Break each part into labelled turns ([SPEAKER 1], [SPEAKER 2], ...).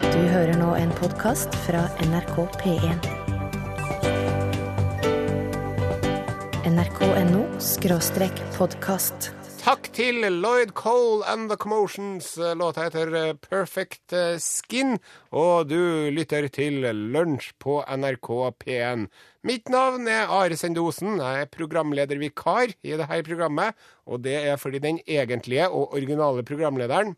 [SPEAKER 1] Du hører nå en podkast fra NRK P1. NRK.no skråstrek podkast.
[SPEAKER 2] Takk til Lloyd Cole and The Commotions. Låta heter eh, Perfect eh, Skin. Og du lytter til Lunsj på NRK P1. Mitt navn er Are Sendosen. Jeg er programledervikar i dette programmet. Og det er fordi den egentlige og originale programlederen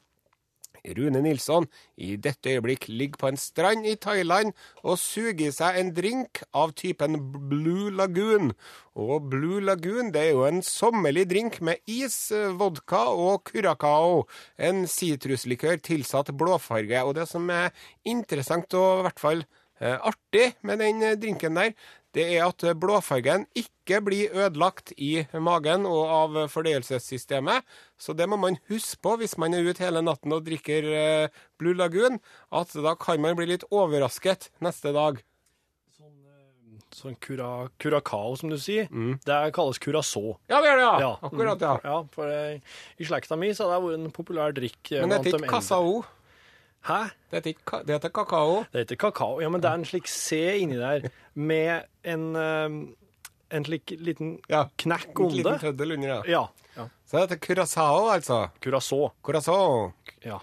[SPEAKER 2] Rune Nilsson i dette øyeblikk ligger på en strand i Thailand og suger i seg en drink av typen Blue Lagoon. Og Blue Lagoon det er jo en sommerlig drink med is, eh, vodka og curacao. En sitruslikør tilsatt blåfarge. Og det som er interessant og i hvert fall eh, artig med den eh, drinken der, det er at eh, blåfargen ikke blir ødelagt i magen og av eh, fordøyelsessystemet. Så det må man huske på hvis man er ute hele natten og drikker eh, Blue Lagoon, at da kan man bli litt overrasket neste dag.
[SPEAKER 3] Sånn cura, curacao, som du sier. Det kalles curacao.
[SPEAKER 2] Ja, det er det, Mm. ja!
[SPEAKER 3] Ja.
[SPEAKER 2] Akkurat, ja.
[SPEAKER 3] Ja, for eh, i slekta mi så har det vært en populær drikk. eh,
[SPEAKER 2] Men det
[SPEAKER 3] blant
[SPEAKER 2] heter ikke
[SPEAKER 3] de
[SPEAKER 2] kasao.
[SPEAKER 3] eldre. Hæ?
[SPEAKER 2] Det heter, ikke ka- det heter kakao.
[SPEAKER 3] Det heter kakao. Ja, men det er en slik C inni der, med en, eh, en slik liten
[SPEAKER 2] Ja.
[SPEAKER 3] knekk
[SPEAKER 2] En liten
[SPEAKER 3] onde.
[SPEAKER 2] tøddel under, ja.
[SPEAKER 3] Ja. ja.
[SPEAKER 2] Så det heter curacao, altså.
[SPEAKER 3] Curacao.
[SPEAKER 2] Curacao.
[SPEAKER 3] Ja.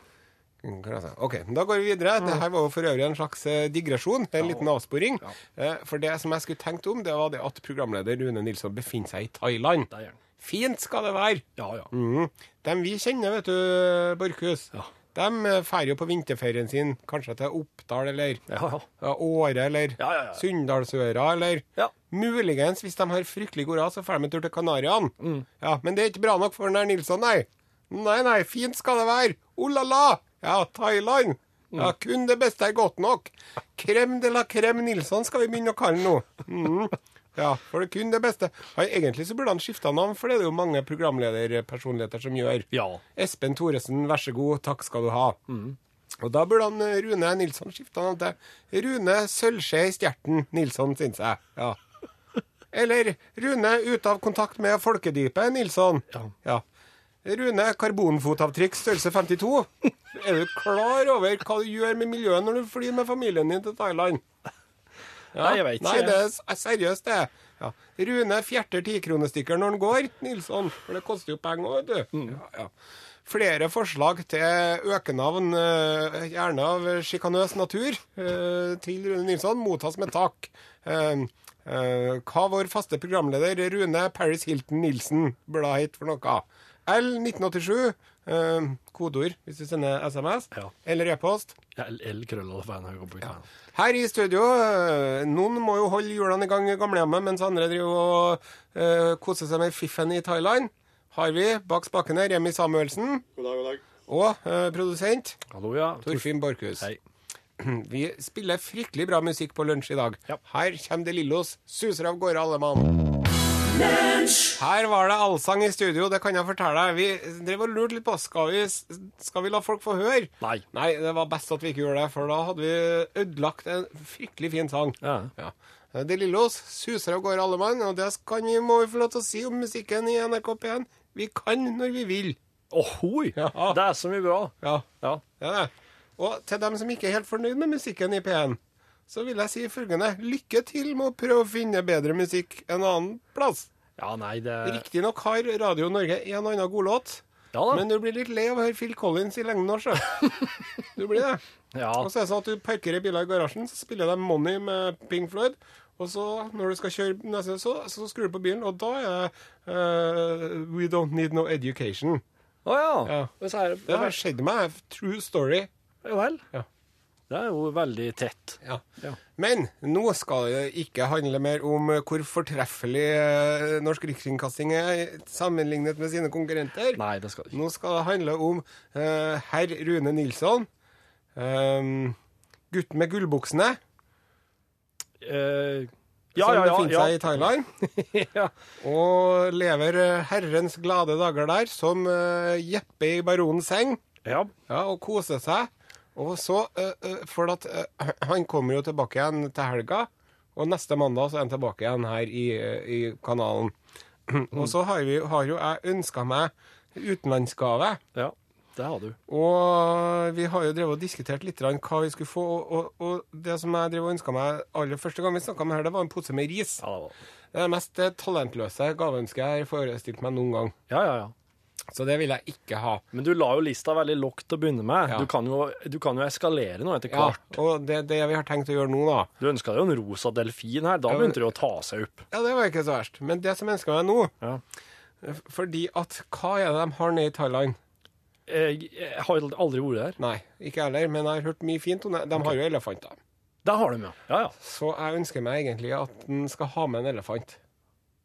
[SPEAKER 2] Mm, curacao. OK, da går vi videre. Dette var jo for øvrig en slags eh, digresjon, en liten avsporing. Eh, For det som jeg skulle tenkt om, det var det at programleder Rune Nilsson befinner seg i Thailand.
[SPEAKER 3] Der er den.
[SPEAKER 2] Fint skal det være!
[SPEAKER 3] Ja, ja.
[SPEAKER 2] Mm. Dem vi kjenner, vet du, Borchhus,
[SPEAKER 3] Ja.
[SPEAKER 2] de drar jo på vinterferien sin kanskje til Oppdal eller
[SPEAKER 3] Ja, ja.
[SPEAKER 2] ja, Åre eller
[SPEAKER 3] Ja, ja, ja.
[SPEAKER 2] Sunndalsøra eller
[SPEAKER 3] Ja.
[SPEAKER 2] Muligens, hvis de har fryktelig god råd, så drar de en tur til Kanariøyene.
[SPEAKER 3] Mm.
[SPEAKER 2] Ja, men det er ikke bra nok for den der Nilsson, nei. Nei, nei, fint skal det være. Oh la la! Ja, Thailand. Ja,
[SPEAKER 3] Mm.
[SPEAKER 2] kun det beste er godt nok. Krem de la krem Nilsson skal vi begynne å kalle nå. Mm. Ja, for det er kun det beste. Ja, egentlig så burde han skifta navn, for det er det jo mange programlederpersonligheter som gjør.
[SPEAKER 3] Ja. Mm.
[SPEAKER 2] Espen Thoresen, vær så god, takk skal du ha. Og da burde han eh, Rune Nilsson skifte navn til Rune Sølvskje i Stjerten Nilsson, syns jeg. Ja. Eller Rune ute av kontakt med folkedypet Nilsson.
[SPEAKER 3] Ja.
[SPEAKER 2] Rune karbonfotavtrykk størrelse 52. Er du klar over hva du gjør med miljøet når du flyr med familien din til Thailand?
[SPEAKER 3] Nei, jeg vet ikke.
[SPEAKER 2] Nei, det er s- eh, seriøst, det. Ja. Rune fjerter tikronestykker når han går, Nilsson. For det koster jo penger òg, vet du. Ja, ja. Flere forslag til økenavn, eh, gjerne av sjikanøs natur, eh, til Rune Nilsson mottas med takk. Eh, eh, Hva vår faste programleder Rune Paris Hilton Nilsen burde ha hett for noe? L1987, eh, kodeord hvis du sender SMS,
[SPEAKER 3] Ja.
[SPEAKER 2] eller e-post.
[SPEAKER 3] Ja, L-krølla.
[SPEAKER 2] Her i studio, eh, noen må jo holde hjulene i gang i gamlehjemmet, mens andre driver og eh, koser seg med fiffen i Thailand. Har vi bak spakene Remi Samuelsen
[SPEAKER 4] God dag, god dag.
[SPEAKER 2] og eh, produsent
[SPEAKER 3] Hallo, ja.
[SPEAKER 2] Torfinn Borchhus.
[SPEAKER 3] Hei.
[SPEAKER 2] Vi spiller fryktelig bra musikk på lunsj i dag.
[SPEAKER 3] Ja.
[SPEAKER 2] Her kommer det Lillos. Suser av gårde, alle mann. Her var det allsang i studio, det kan jeg fortelle deg. Vi drev og lurte litt på skal vi, skal vi la folk få høre.
[SPEAKER 3] Nei.
[SPEAKER 2] Nei, det var best at vi ikke gjorde det, for da hadde vi ødelagt en fryktelig fin sang.
[SPEAKER 3] Ja.
[SPEAKER 2] Ja. De Lillos suser av gårde, alle mann, og det kan vi, må vi få lov til å si om musikken i NRK P1. Vi kan når vi vil.
[SPEAKER 3] Ohoi!
[SPEAKER 2] Ja.
[SPEAKER 3] Det er så mye bra.
[SPEAKER 2] Ja.
[SPEAKER 3] Ja.
[SPEAKER 2] Det er det. Og til dem som ikke er helt fornøyd med musikken i P1, så vil jeg si følgende. Lykke til med å prøve å finne bedre musikk en annen plass.
[SPEAKER 3] Ja, nei, det
[SPEAKER 2] Riktignok har Radio Norge en og annen god låt,
[SPEAKER 3] Eh. Ja da.
[SPEAKER 2] men du blir litt lei av å høre Phil Collins i lengden også. Du blir det.
[SPEAKER 3] ja.
[SPEAKER 2] Og så er det sånn at du parkerer biler i garasjen, så spiller de Money med Pink Floyd. Og så, når du skal kjøre neste, så, så skrur du på bilen, og da er eh, We Don't Need No Education.
[SPEAKER 3] Å ja.
[SPEAKER 2] Ja.
[SPEAKER 3] Det, er,
[SPEAKER 2] Det har skjedd meg. True story.
[SPEAKER 3] Ja vel.
[SPEAKER 2] Ja.
[SPEAKER 3] Det er jo veldig tett.
[SPEAKER 2] Ja.
[SPEAKER 3] Ja.
[SPEAKER 2] Men nå skal det ikke handle mer om eh, hvor fortreffelig eh, norsk rikskringkasting er sammenlignet med sine konkurrenter.
[SPEAKER 3] Nei, det skal det ikke.
[SPEAKER 2] Nå skal det handle om eh, herr Rune Nilsson, eh, gutten med gullbuksene,
[SPEAKER 3] Eh, ja,
[SPEAKER 2] som
[SPEAKER 3] ja, ja,
[SPEAKER 2] befinner
[SPEAKER 3] ja,
[SPEAKER 2] seg i Thailand,
[SPEAKER 3] ja.
[SPEAKER 2] og lever eh, herrens glade dager der som eh, Jeppe i Baronens seng.
[SPEAKER 3] Ja.
[SPEAKER 2] Ja, og kose seg. Og så, eh, eh, for at eh, han kommer jo tilbake igjen til helga, og neste mandag så er han tilbake igjen her i, eh, i kanalen. Og så har, vi, har jo jeg ønska meg utenlandsgave.
[SPEAKER 3] ja. Det har du.
[SPEAKER 2] Og vi har jo drevet og diskutert litt grann hva vi skulle få, og, og, og det som jeg drev og ønska meg aller første gang vi snakka om det her, det var en pose med ris.
[SPEAKER 3] Ja, det var.
[SPEAKER 2] Det er det mest eh, talentløse gaveønsket jeg har forestilt meg noen gang.
[SPEAKER 3] ja, ja, ja.
[SPEAKER 2] Så det vil jeg ikke ha.
[SPEAKER 3] Men du la jo lista veldig lågt til å begynne med.
[SPEAKER 2] Ja.
[SPEAKER 3] Du, kan jo, du kan jo eskalere nå etter
[SPEAKER 2] Ja,
[SPEAKER 3] hvert.
[SPEAKER 2] og det, det vi har tenkt å gjøre nå, da
[SPEAKER 3] Du ønska deg jo en rosa delfin her. Da
[SPEAKER 2] Ja, men-
[SPEAKER 3] begynte det jo å ta seg opp.
[SPEAKER 2] Ja, det var ikke så verst. Men det som ønsker meg nå
[SPEAKER 3] Ja.
[SPEAKER 2] f- Fordi at hva er det de har nede i Thailand?
[SPEAKER 3] Jeg, jeg har aldri vært der.
[SPEAKER 2] Nei, ikke heller, men jeg har hørt mye fint om det. De har jo elefanter.
[SPEAKER 3] Der har de, ja. Ja, ja.
[SPEAKER 2] Så jeg ønsker meg egentlig at en skal ha med en elefant.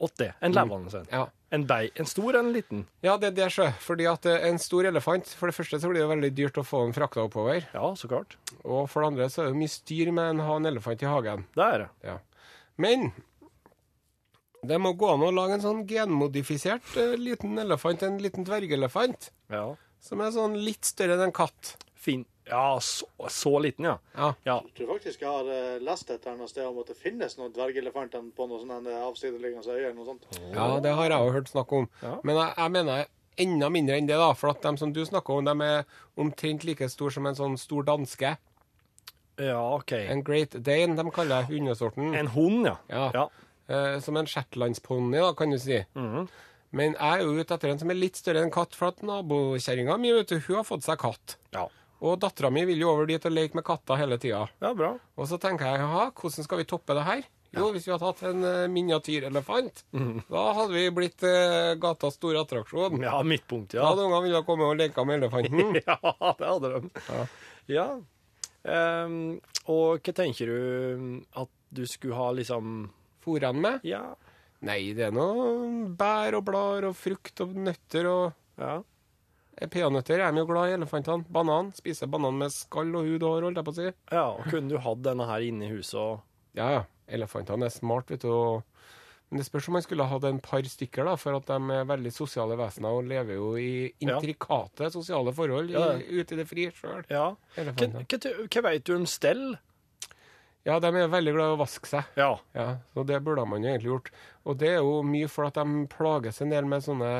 [SPEAKER 3] Åt det. En levende en.
[SPEAKER 2] Ja,
[SPEAKER 3] En bei. En stor eller en liten?
[SPEAKER 2] ja det er det, sjø. Fordi at eh, en stor elefant For det første så blir det jo veldig dyrt å få den frakta oppover.
[SPEAKER 3] Ja, så klart.
[SPEAKER 2] Og for det andre så er det jo mye styr med å ha en elefant i hagen.
[SPEAKER 3] Det er det.
[SPEAKER 2] Ja. Men det må gå an å lage en sånn genmodifisert eh, liten elefant, en liten dvergelefant,
[SPEAKER 3] Ja.
[SPEAKER 2] som er sånn litt større enn en katt.
[SPEAKER 3] Fin. Ja, så, så liten, ja.
[SPEAKER 2] Ja.
[SPEAKER 3] Ja.
[SPEAKER 5] Jeg tror faktisk jeg har eh, lest et eller annet sted om at det finnes noen dvergelefanter på noen sånne avsideliggende øyer eller noe sånt.
[SPEAKER 2] ja, det har jeg jo hørt snakk om.
[SPEAKER 3] Ja.
[SPEAKER 2] Men jeg, jeg mener enda mindre enn det, da. For at dem som du snakker om, de er omtrent like stor som en sånn stor danske.
[SPEAKER 3] Ja, OK. En,
[SPEAKER 2] En Great Dane, de kaller jeg hundesorten.
[SPEAKER 3] hund, ja.
[SPEAKER 2] Ja.
[SPEAKER 3] ja.
[SPEAKER 2] Eh, som en shetlandsponni, da, kan du si. Men jeg er jo ute etter en som er litt større enn katt, for at nabokjerringa mi, vet du, hun har fått seg katt.
[SPEAKER 3] Ja.
[SPEAKER 2] Og dattera mi vil jo over dit og leke med katter hele tida.
[SPEAKER 3] Ja, bra.
[SPEAKER 2] Og så tenker jeg jaha, hvordan skal vi toppe det her? Jo, hvis vi hadde hatt en eh, miniatyrelefant, da hadde vi blitt eh, gatas store attraksjon.
[SPEAKER 3] Ja, midtpunkt,
[SPEAKER 2] Da
[SPEAKER 3] ja.
[SPEAKER 2] hadde ungene villet komme og leke med elefanten.
[SPEAKER 3] Ja, det hadde de. Ja. Ehm, og hva tenker du um, at du skulle ha liksom
[SPEAKER 2] Fôrer han med?
[SPEAKER 3] Ja.
[SPEAKER 2] Nei, det er noe bær og blader og frukt og nøtter og
[SPEAKER 3] ja.
[SPEAKER 2] eh, Peanøtter er de jo glad i, elefantene. Banan. Spiser banan med skall og hud og hår, holdt jeg på å si.
[SPEAKER 3] ja og kunne du hatt denne her inne i huset og
[SPEAKER 2] Ja, ja. Elefantene er smart, vet du. og- Men det spørs om man skulle hatt en par stykker, da, for at de er veldig sosiale vesener og lever jo i
[SPEAKER 3] Ja.
[SPEAKER 2] intrikate sosiale forhold
[SPEAKER 3] Ja, ja.
[SPEAKER 2] i, ute i det frie sjøl.
[SPEAKER 3] Ja. Hva,
[SPEAKER 2] Elefantene.
[SPEAKER 3] hva, tu- hva vet du om stell?
[SPEAKER 2] Ja, de er veldig glad i å vaske seg.
[SPEAKER 3] Ja.
[SPEAKER 2] Ja, så det burde man jo egentlig gjort. Og det er jo mye for at de plages en del med sånne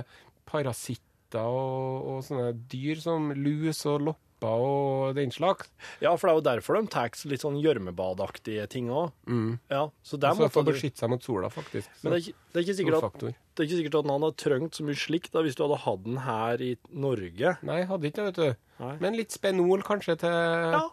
[SPEAKER 2] parasitter og, og sånne dyr som lus og lopper og den slags.
[SPEAKER 3] ja, for det er jo derfor de tar litt sånn gjørmebadaktige ting òg. Ja, så der
[SPEAKER 2] Altså
[SPEAKER 3] måtte
[SPEAKER 2] for å
[SPEAKER 3] du
[SPEAKER 2] beskytte seg mot sola, faktisk.
[SPEAKER 3] Men det er, ikke- det, er ikke sikkert at,
[SPEAKER 2] faktor.
[SPEAKER 3] det er ikke sikkert at noen hadde trengt så mye slikt da, hvis du hadde hatt den her i Norge.
[SPEAKER 2] Nei, hadde ikke det, vet du.
[SPEAKER 3] Nei.
[SPEAKER 2] Men litt spenol kanskje til
[SPEAKER 3] Ja.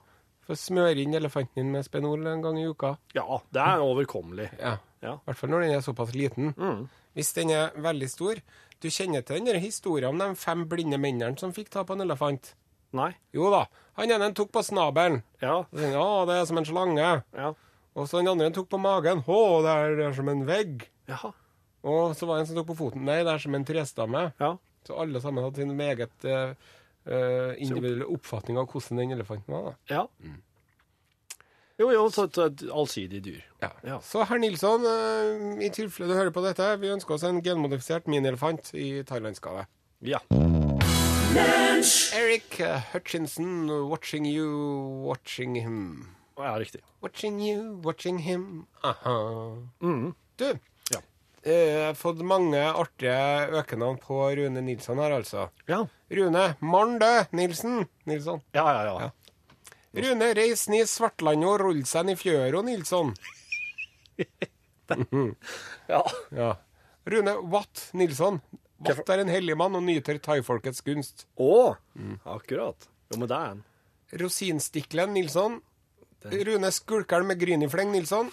[SPEAKER 2] For å smøre inn elefanten din med spenol en gang i uka.
[SPEAKER 3] Ja, det er overkommelig.
[SPEAKER 2] Ja.
[SPEAKER 3] Ja.
[SPEAKER 2] I hvert fall når den er såpass liten.
[SPEAKER 3] Mm.
[SPEAKER 2] Hvis den er veldig stor Du kjenner til den der historien om de fem blinde mennene som fikk ta på en elefant?
[SPEAKER 3] Nei.
[SPEAKER 2] Jo da. Han ene tok på snabelen.
[SPEAKER 3] Ja.
[SPEAKER 2] Og tenkte, Å, det er som en slange.
[SPEAKER 3] Ja.
[SPEAKER 2] Og så den andre tok på magen. Å, det er, det er som en vegg.
[SPEAKER 3] Jaha.
[SPEAKER 2] Og så var det en som tok på foten. Nei, det er som en trestamme.
[SPEAKER 3] Ja.
[SPEAKER 2] Så alle sammen hadde sin meget eh, eh, individuelle oppfatning av hvordan den elefanten var. da.
[SPEAKER 3] Ja. Jo, jo, så et, et allsidig dyr.
[SPEAKER 2] Ja.
[SPEAKER 3] Ja.
[SPEAKER 2] Så herr Nilsson, eh, i tilfelle du hører på dette, vi ønsker oss en genmodifisert minielefant i thailandsgave.
[SPEAKER 3] Ja.
[SPEAKER 2] Eric eh, Hutchinson, watching you, watching him.
[SPEAKER 3] Ja, riktig.
[SPEAKER 2] Watching you, watching him. Aha.
[SPEAKER 3] Mhm.
[SPEAKER 2] Du,
[SPEAKER 3] Ja.
[SPEAKER 2] eh, jeg har fått mange artige økenavn på Rune Nilsson her, altså.
[SPEAKER 3] Ja.
[SPEAKER 2] Rune Marndø Nilsen. Nilsson.
[SPEAKER 3] Ja, ja, ja.
[SPEAKER 2] Rune Reisen i Svartland og Rolsen i Fjøro, Nilsson.
[SPEAKER 3] Ja.
[SPEAKER 2] Ja. Rune Watt Nilsson. Watt er en hellig mann og nyter thaifolkets gunst.
[SPEAKER 3] Å, akkurat. Jo, men det er en.
[SPEAKER 2] Rosinstikkelen Nilsson. Rune Skulkeren med Grynifleng Nilsson.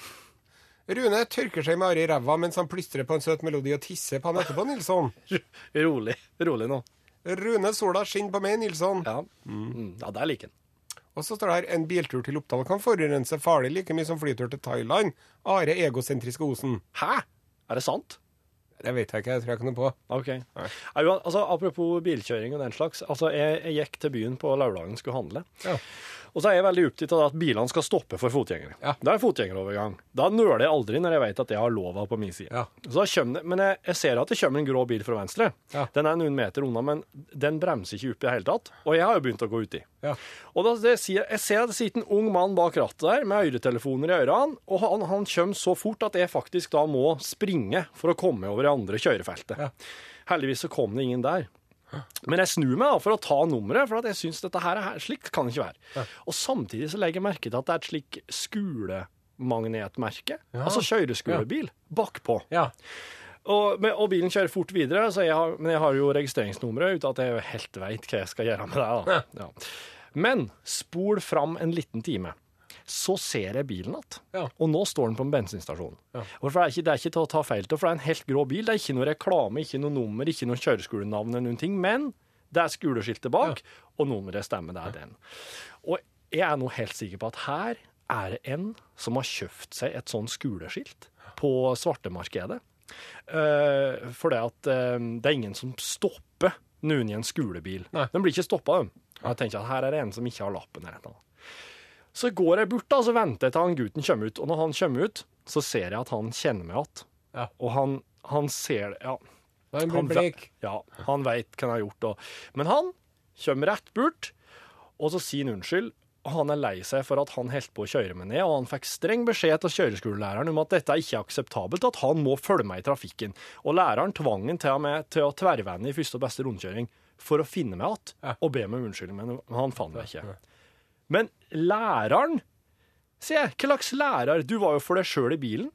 [SPEAKER 2] Rune tørker seg med arr i ræva mens han plystrer på en søt melodi og tisser på han etterpå, Nilsson.
[SPEAKER 3] Rolig. Rolig nå.
[SPEAKER 2] Rune Sola skinner på meg, Nilsson.
[SPEAKER 3] Ja, mm. ja der liker den.
[SPEAKER 2] Og så står det her en biltur til Oppdal kan forurense farlig like mye som flytur til Thailand. Are egosentriske Osen.
[SPEAKER 3] Hæ? Er det sant?
[SPEAKER 2] Det vet jeg ikke, jeg tror jeg ikke noe på.
[SPEAKER 3] OK. Er jo, altså, apropos bilkjøring og den slags. Altså, jeg, jeg gikk til byen på lørdagen og skulle handle.
[SPEAKER 2] Ja.
[SPEAKER 3] Og så er jeg veldig opptatt av at bilene skal stoppe for fotgjengere.
[SPEAKER 2] Ja.
[SPEAKER 3] Det er fotgjengerovergang. Da nøler jeg aldri når jeg vet at jeg har lova på min side.
[SPEAKER 2] Ja.
[SPEAKER 3] Så da kommer det, men jeg, jeg ser at det kommer en grå bil fra venstre.
[SPEAKER 2] Ja.
[SPEAKER 3] Den er noen meter unna, men den bremser ikke opp i det hele tatt. Og jeg har jo begynt å gå uti.
[SPEAKER 2] Ja.
[SPEAKER 3] Og da, det, sier- jeg ser at det sitter en ung mann bak rattet der med øretelefoner i ørene, og han, han kommer så fort at jeg faktisk da må springe for å komme over det andre kjørefeltet. Heldigvis så kom det ingen der. Men jeg snur meg da for å ta nummeret, for at jeg syns dette her, er- slik kan det ikke være. Og samtidig så legger jeg merke til at det er et slik skolemagnetmerke, altså kjøreskolebil, bakpå.
[SPEAKER 6] Ja.
[SPEAKER 3] Og, men- og bilen kjører fort videre, så jeg har, men jeg har jo registreringsnummeret uten at jeg helt veit hva jeg skal gjøre med det. Da. Ja. Men spol fram en liten time. Så ser jeg bilen igjen,
[SPEAKER 6] Ja.
[SPEAKER 3] og nå står den på en bensinstasjon. Og for det, er ikke, det er ikke til å ta feil til, for det er en helt grå bil. Det er ikke noe reklame, ikke noe nummer, ikke noe kjøreskolenavn, eller noen ting, men det er skoleskiltet bak, og nummeret stemmer, det er den. Og jeg er nå helt sikker på at her er det en som har kjøpt seg et sånn skoleskilt på svartemarkedet. Uh, for det at eh, det er ingen som stopper noen i en skolebil.
[SPEAKER 6] Nei.
[SPEAKER 3] De blir ikke stoppa, de. Og jeg tenker at her er det en som ikke har lappen. eller et eller annet. Så går jeg bort da, så venter jeg til han gutten kommer ut. Og når han kommer ut, så ser jeg at han kjenner meg igjen.
[SPEAKER 6] Ja.
[SPEAKER 3] Og han, han ser det. Ja.
[SPEAKER 2] Da er den
[SPEAKER 3] Han
[SPEAKER 2] blitt bleik.
[SPEAKER 3] ve- Ja, han veit hva han har gjort. Og. Men han kommer rett bort, og så sier han unnskyld. Og han er lei seg for at han holdt på å kjøre meg ned, og han fikk streng beskjed til kjøreskolelæreren om at dette er ikke akseptabelt, at han må følge meg i trafikken. Og læreren tvang han til og med til å tverrvende i første og beste rundkjøring for å finne meg igjen og be meg om unnskyldning, men han fant meg ikke. Men læreren Sier jeg, hva slags lærer? Du var jo for deg sjøl i bilen.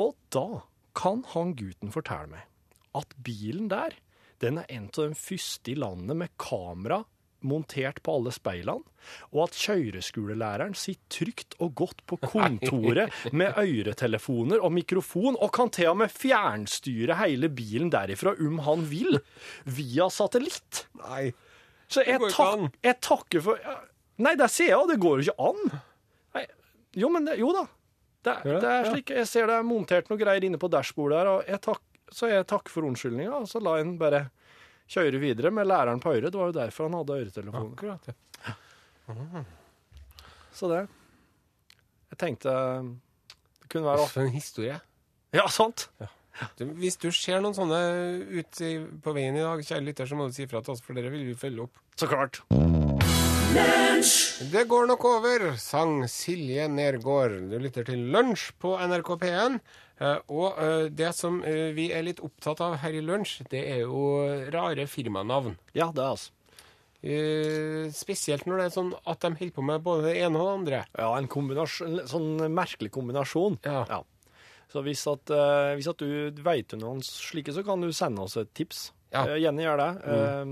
[SPEAKER 3] Og da kan han gutten fortelle meg at bilen der, den er en av de første i landet med kamera montert på alle speilene, og at kjøreskolelæreren sitter trygt og godt på kontoret med øretelefoner og mikrofon, og kan til og med fjernstyre hele bilen derifra om han vil, via satellitt.
[SPEAKER 2] Nei.
[SPEAKER 3] Så jeg,
[SPEAKER 2] går ikke
[SPEAKER 3] tak,
[SPEAKER 2] an.
[SPEAKER 3] jeg takker for ja, Nei, der ser jeg jo, det går jo ikke an. Nei, jo, men det, jo da. Det, er-
[SPEAKER 2] Ja,
[SPEAKER 3] det er
[SPEAKER 2] ja.
[SPEAKER 3] slik, Jeg ser det er montert noe greier inne på dashbordet her, og jeg takk, så jeg takker for unnskyldninga, og så la en bare kjøre videre med læreren på øret. Det var jo derfor han hadde øretelefoner.
[SPEAKER 6] Akkurat, ja.
[SPEAKER 3] Så det Jeg tenkte eh, det kunne være
[SPEAKER 2] For en historie.
[SPEAKER 3] Ja, sant?
[SPEAKER 2] Du, Hvis du ser noen sånne ut i, på veien i dag, kjære lytter, så må du si ifra til oss, for dere vil vi følge opp.
[SPEAKER 3] Så klart.
[SPEAKER 2] Det går nok over, sang Silje Nergård. Du lytter til Lunsj på NRK P1. Eh, Og eh, det som eh, vi er litt opptatt av her i Lunsj, det er jo rare firmanavn.
[SPEAKER 3] Ja, det, altså.
[SPEAKER 2] Eh, Spesielt når det er sånn at de holder på med både det ene og det andre.
[SPEAKER 3] Ja, en, kombinasjon, en sånn merkelig kombinasjon.
[SPEAKER 2] Ja.
[SPEAKER 3] Så hvis at, eh, hvis at du veit om noen slike, så kan du sende oss et tips.
[SPEAKER 2] Ja. Mm.
[SPEAKER 3] Eh, gjerne gjør det. Eh,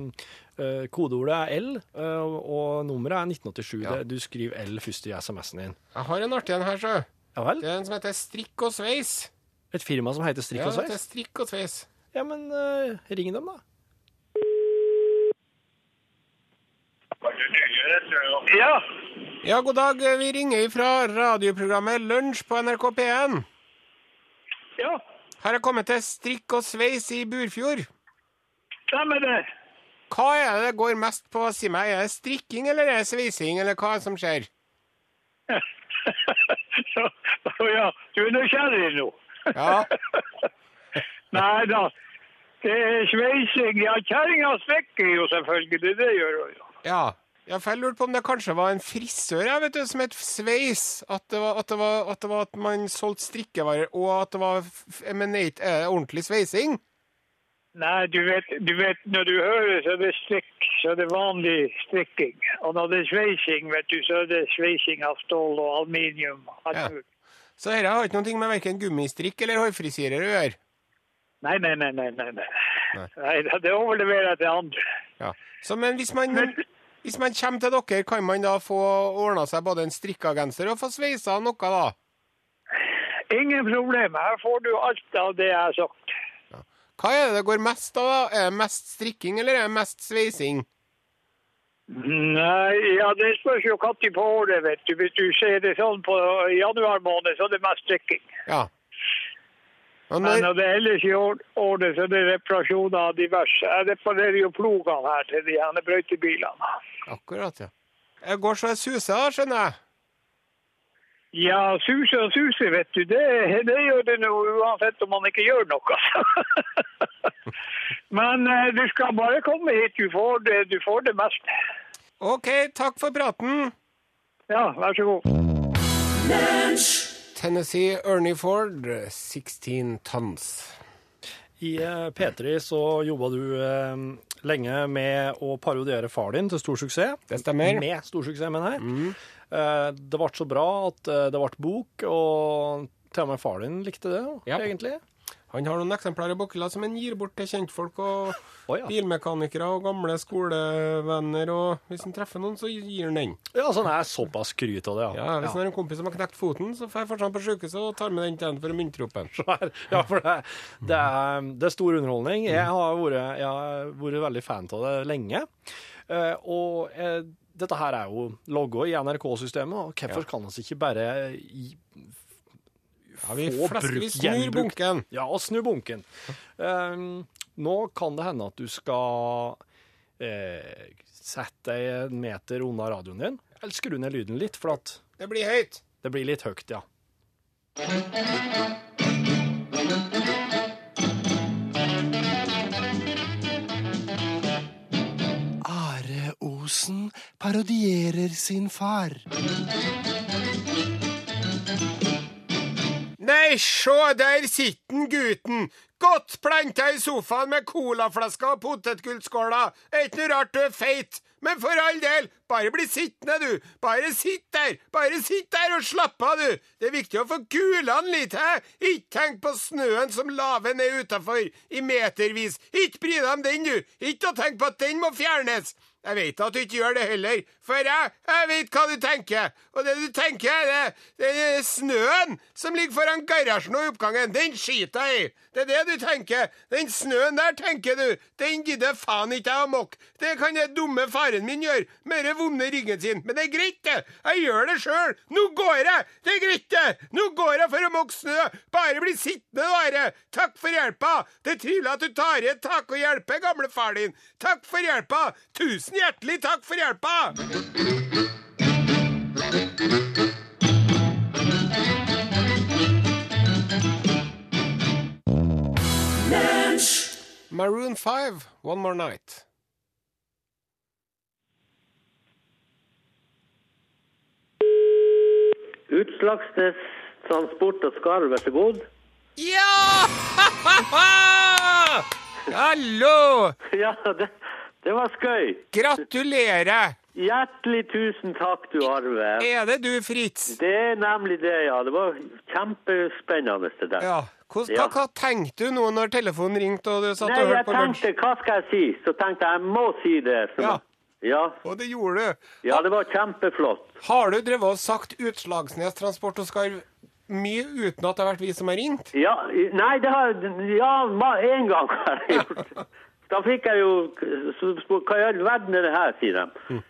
[SPEAKER 3] eh, kodeordet er L, eh, og nummeret er 1987.
[SPEAKER 2] Ja.
[SPEAKER 3] Det- Du skriver L først i SMS-en din.
[SPEAKER 2] Jeg har en artig en her, sjø.
[SPEAKER 3] Ja vel?
[SPEAKER 2] Det er en som heter Strikk og sveis.
[SPEAKER 3] Et firma som heter Strikk
[SPEAKER 2] Ja,
[SPEAKER 3] og
[SPEAKER 2] det heter
[SPEAKER 3] sveis?
[SPEAKER 2] Strikk og sveis.
[SPEAKER 3] Ja, men eh, ring dem, da.
[SPEAKER 7] Ja,
[SPEAKER 2] Ja, god dag. Vi ringer fra radioprogrammet Lunsj på NRK P1.
[SPEAKER 7] ja.
[SPEAKER 2] Her er kommet til strikk og sveis i Burfjord.
[SPEAKER 7] Stemmer det.
[SPEAKER 2] Hva er det det går mest på? Si meg, er det strikking eller er det sveising, eller hva er det som skjer?
[SPEAKER 7] Så, å ja, du er nysgjerrig nå.
[SPEAKER 2] Ja.
[SPEAKER 7] Nei da. Det er sveising. Ja, kjerringa strikker jo selvfølgelig. Det gjør hun jo.
[SPEAKER 2] Ja. Ja, for Jeg lurte på om det kanskje var en frisør jeg vet du, som het Sveis. At det var at, det var, at, det var at man solgte strikkevarer, og at det var f- f- Men er det ikke- er det ordentlig sveising?
[SPEAKER 7] Nei, du vet, du vet, når du hører, så er det strikk. Så er det vanlig strikking. Og når det er sveising, vet du, så er det sveising av stål og aluminium. Alt
[SPEAKER 2] Ja.
[SPEAKER 7] mulig.
[SPEAKER 2] Så dette har ikke noe med verken gummistrikk eller hårfrisyrer å gjøre.
[SPEAKER 7] Nei, nei, nei, nei, nei. nei. nei da, det overleverer jeg til andre.
[SPEAKER 2] Ja. Så, men hvis man, hvis man kommer til dere, kan man da få ordna seg både en strikka genser og få sveisa noe, da?
[SPEAKER 7] Ingen problem. Her får du alt av det jeg har sagt.
[SPEAKER 2] Hva er det det går mest av, da? Er det mest strikking, eller er det mest sveising?
[SPEAKER 7] Nei, ja, det spørs jo når på året, vet du. Hvis du ser det sånn på januar måned, så er det mest strikking.
[SPEAKER 2] Ja. Og
[SPEAKER 7] Men
[SPEAKER 2] når,
[SPEAKER 7] når det er ellers i år- året, så er det reparasjoner av diverse. Jeg reparerer jo plogene her til de her brøytebilene.
[SPEAKER 2] akkurat, ja. Jeg går så jeg suser, da, skjønner jeg.
[SPEAKER 7] Ja, suse og suse, vet du. Det, det gjør det nå uansett om man ikke gjør noe. Men eh, du skal bare komme hit. Du får det, du får det meste.
[SPEAKER 2] OK, takk for praten.
[SPEAKER 7] Ja, vær så god.
[SPEAKER 2] Tennessee Ernie Ford, 16 tons.
[SPEAKER 3] I eh, P3 så jobba du eh, lenge med å parodiere far din til stor suksess.
[SPEAKER 2] Det stemmer. Mm.
[SPEAKER 3] Med stor suksess, mener jeg. Eh, det ble så bra at eh, det ble bok, og til og med far din likte det, jo,
[SPEAKER 2] Ja.
[SPEAKER 3] egentlig.
[SPEAKER 2] Han har noen eksemplarer i bokhylla som han gir bort til kjentfolk og
[SPEAKER 3] Å, ja.
[SPEAKER 2] bilmekanikere og gamle skolevenner, og hvis han treffer noen, så gir han den.
[SPEAKER 3] Ja, sånn er såpass skryt av det, ja.
[SPEAKER 2] Ja, Hvis han har en kompis som har knekt foten, så får jeg fortsatt han på sykehuset og tar med den til han for å muntre opp en.
[SPEAKER 3] her. Ja, for det, det, er, det er stor underholdning. Jeg har vært, jeg har vært veldig fan av det lenge. Eh, og eh, dette her er jo logga i NRK-systemet, og hvorfor kan vi ikke bare i,
[SPEAKER 2] Ja, vi,
[SPEAKER 3] Få
[SPEAKER 2] flesker, vi
[SPEAKER 3] brukt,
[SPEAKER 2] snur
[SPEAKER 3] gjenbrukt.
[SPEAKER 2] bunken.
[SPEAKER 3] ja, og snu bunken? Eh, nå kan det hende at du skal eh, sette deg en meter unna radioen din, eller skru ned lyden litt, for at
[SPEAKER 2] Det blir høyt.
[SPEAKER 3] det blir litt høyt, ja.
[SPEAKER 8] Are Osen parodierer sin far.
[SPEAKER 2] Nei, sjå, der sitter den gutten! Godt planta i sofaen med colaflasker og potetgullskåler. Er ikke noe rart du er feit. Men for all del, bare bli sittende, du. Bare sitt der. Bare sitt der og slapp av, du. Det er viktig å få gulan litt, hæ? Ikke tenk på snøen som laver ned utafor, i metervis. Ikke bry deg om den, du. Ikke å tenke på at den må fjernes. Jeg vet at du ikke gjør det heller, for jeg, jeg vet hva du tenker. Og det du tenker, det, det er snøen som ligger foran garasjen og i oppgangen. Den skiter jeg i. Det er det du tenker. Den snøen der, tenker du. Den gidder faen ikke jeg å mokke. Det kan den dumme faren min gjøre, med den vonde ryggen sin. Men det er greit, det. Jeg gjør det sjøl. Nå går jeg. Det er greit, det. Nå går jeg for å mokke snø. Bare bli sittende, bare. Takk for hjelpa. Det er trivelig at du tar i et tak og hjelper gamlefar din. Takk for hjelpa. Tusen hjertelig takk for hjelpa. Maroon 5, One More Night.
[SPEAKER 9] Utslagsnes transport og skarv, vær så god.
[SPEAKER 2] Ja! Hallo!
[SPEAKER 9] Ja, det, det var skøy.
[SPEAKER 2] Gratulerer!
[SPEAKER 9] Hjertelig tusen takk, du Arve.
[SPEAKER 2] Er det du, Fritz?
[SPEAKER 9] Det er nemlig det, ja. Det var kjempespennende det der.
[SPEAKER 2] Ja. Hva, hva,
[SPEAKER 9] Ja.
[SPEAKER 2] hva tenkte du nå når telefonen ringte og du satt
[SPEAKER 9] Nei,
[SPEAKER 2] og
[SPEAKER 9] jeg
[SPEAKER 2] hørte på lunsj?
[SPEAKER 9] tenkte, hva skal jeg si? Så tenkte jeg, jeg må si det. som-
[SPEAKER 2] Ja.
[SPEAKER 9] ja.
[SPEAKER 2] Og det gjorde du.
[SPEAKER 9] Ja, det var kjempeflott.
[SPEAKER 2] Har du drevet og sagt Utslagsnes Transport og Skarv mye uten at det har vært vi som har ringt?
[SPEAKER 9] Ja, i- nei, det har Ja, ma- en gang har jeg gjort. Da fikk jeg jo så spør- Hva i all verden er det her, sier de.
[SPEAKER 3] Mm.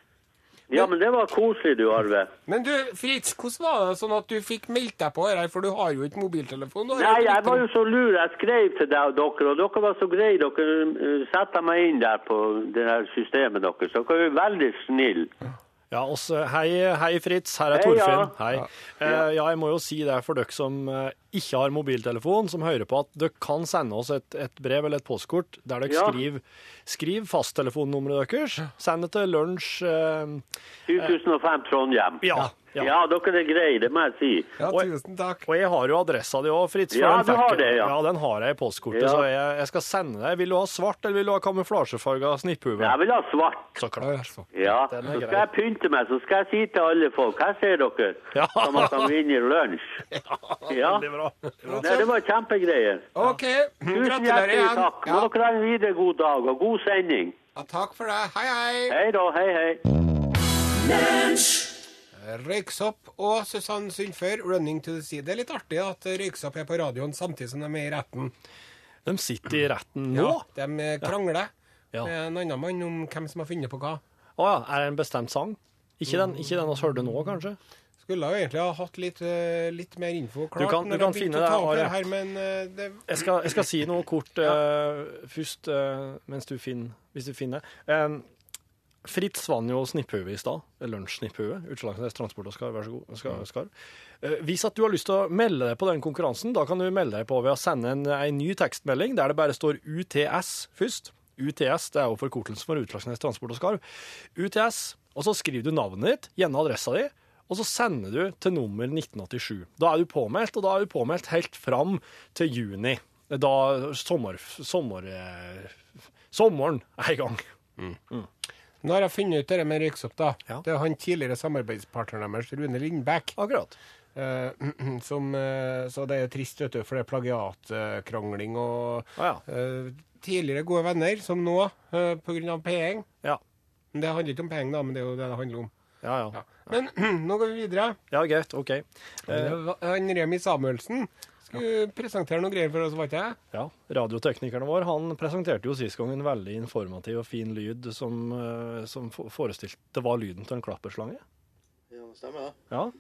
[SPEAKER 9] Ja, men det var koselig, du, Arve.
[SPEAKER 2] Men du, Fritz, hvordan var det sånn at du fikk meldt deg på her, for du har jo ikke mobiltelefon? Du har
[SPEAKER 9] Nei,
[SPEAKER 2] jo
[SPEAKER 9] jeg
[SPEAKER 2] ikke
[SPEAKER 9] var jo så lur. Jeg skrev til deg og dere, og dere var så greie. Dere eh, satte meg inn der på det her systemet deres. Dere er jo veldig snille.
[SPEAKER 3] Ja, oss, hei, hei Fritz, her er
[SPEAKER 9] Hei,
[SPEAKER 3] Torfinn.
[SPEAKER 9] ja.
[SPEAKER 3] Hei. Eh, ja, jeg må jo si det for dere som eh, ikke har mobiltelefon, som hører på, at dere kan sende oss et, et brev eller et postkort der dere
[SPEAKER 9] Ja.
[SPEAKER 3] skriver skriv fasttelefonnummeret deres. Send det til lunsj eh,
[SPEAKER 9] 7005 Trondheim.
[SPEAKER 3] ja, ja.
[SPEAKER 9] Ja, dere er greie, det må jeg si.
[SPEAKER 2] Ja,
[SPEAKER 3] Oi.
[SPEAKER 2] tusen takk.
[SPEAKER 3] Og jeg har jo adressa di òg, Fritz. for
[SPEAKER 9] Ja,
[SPEAKER 3] den
[SPEAKER 9] du
[SPEAKER 3] fikk
[SPEAKER 9] har
[SPEAKER 3] jeg.
[SPEAKER 9] det, ja.
[SPEAKER 3] ja, den har jeg i postkortet,
[SPEAKER 9] Ja.
[SPEAKER 3] så jeg, jeg skal sende deg. Vil du ha svart, eller vil du ha kamuflasjefarga snipphue?
[SPEAKER 9] Jeg vil ha svart.
[SPEAKER 3] Så klart.
[SPEAKER 2] Altså.
[SPEAKER 9] Ja,
[SPEAKER 3] Den er
[SPEAKER 9] så skal
[SPEAKER 3] grei.
[SPEAKER 9] jeg pynte meg, så skal jeg si til alle folk Her ser dere,
[SPEAKER 3] Ja.
[SPEAKER 9] som at han vinner lunsj. Ja,
[SPEAKER 3] Veldig bra.
[SPEAKER 9] Nei, det var kjempegreier.
[SPEAKER 2] OK,
[SPEAKER 9] Tusen
[SPEAKER 2] gratulerer
[SPEAKER 9] hjertelig
[SPEAKER 2] igjen.
[SPEAKER 9] takk.
[SPEAKER 2] Ja.
[SPEAKER 9] Må dere ha en videre god dag og god sending.
[SPEAKER 2] ja, takk for det. Hei, hei.
[SPEAKER 9] Hei da, hei, hei.
[SPEAKER 2] Røyksopp og Susann Sundfør, 'Running to the Sea'. Det er litt artig at eh, Røyksopp er på radioen samtidig som de er i retten.
[SPEAKER 3] De sitter i retten nå. Å ja.
[SPEAKER 2] De
[SPEAKER 10] eh,
[SPEAKER 2] krangler
[SPEAKER 3] Ja.
[SPEAKER 2] med en annen mann om hvem som har funnet på hva.
[SPEAKER 3] er det en bestemt sang? Ikke den, ikke den vi hørte nå, kanskje?
[SPEAKER 2] Skulle jo egentlig ha hatt litt, eh, litt mer info klart.
[SPEAKER 3] kan-
[SPEAKER 2] når
[SPEAKER 3] du kan
[SPEAKER 2] jeg begynte
[SPEAKER 3] finne
[SPEAKER 2] å ta
[SPEAKER 3] det,
[SPEAKER 2] opp
[SPEAKER 3] Are.
[SPEAKER 2] det her, men eh, det,
[SPEAKER 3] jeg skal, jeg skal si noe kort eh, først, eh, mens du finner, hvis du finner. Um, Fritz vann jo snipphue i stad. Eh, Lunsj-snipphue. Utslagsnes Transport og Skar, vær så god. Skar, skar. Eh, hvis at du har lyst til å melde deg på den konkurransen, da kan du melde deg på ved å sende en, eh, en ny tekstmelding der det bare står UTS først. UTS det er jo forkortelsen for Utslagsnes Transport og Skarv. UTS, og så skriver du navnet ditt, gjerne adressa di, og så sender du til nummer 1987. Da er du påmeldt, og da er du påmeldt helt fram til juni. Eh, Da sommer... sommer eh, sommeren er i gang.
[SPEAKER 10] Nå har jeg funnet ut det med Røyksopp, da.
[SPEAKER 3] Ja.
[SPEAKER 10] Det er han tidligere samarbeidspartneren deres, Rune Lindbæk.
[SPEAKER 3] Akkurat.
[SPEAKER 10] Eh, som, eh, så det er trist, vet du, for det er plagiatkrangling og
[SPEAKER 3] Ah, ja.
[SPEAKER 10] eh, Tidligere gode venner, som nå, eh, på grunn av penger.
[SPEAKER 3] Ja.
[SPEAKER 10] Men Det handler ikke om penger, da, men det er jo det det handler om.
[SPEAKER 3] Ja, ja.
[SPEAKER 10] Ja. Men nå går vi videre.
[SPEAKER 3] Ja, greit. OK. Eh,
[SPEAKER 10] Uh, Remi Samuelsen skulle presentere noen greier for oss, var ikke det?
[SPEAKER 3] ja. Radioteknikeren vår han presenterte jo sist gang en veldig informativ og fin lyd som, eh, som fo- forestilte var lyden til en klapperslange.
[SPEAKER 5] Ja, det stemmer det.
[SPEAKER 3] Ja.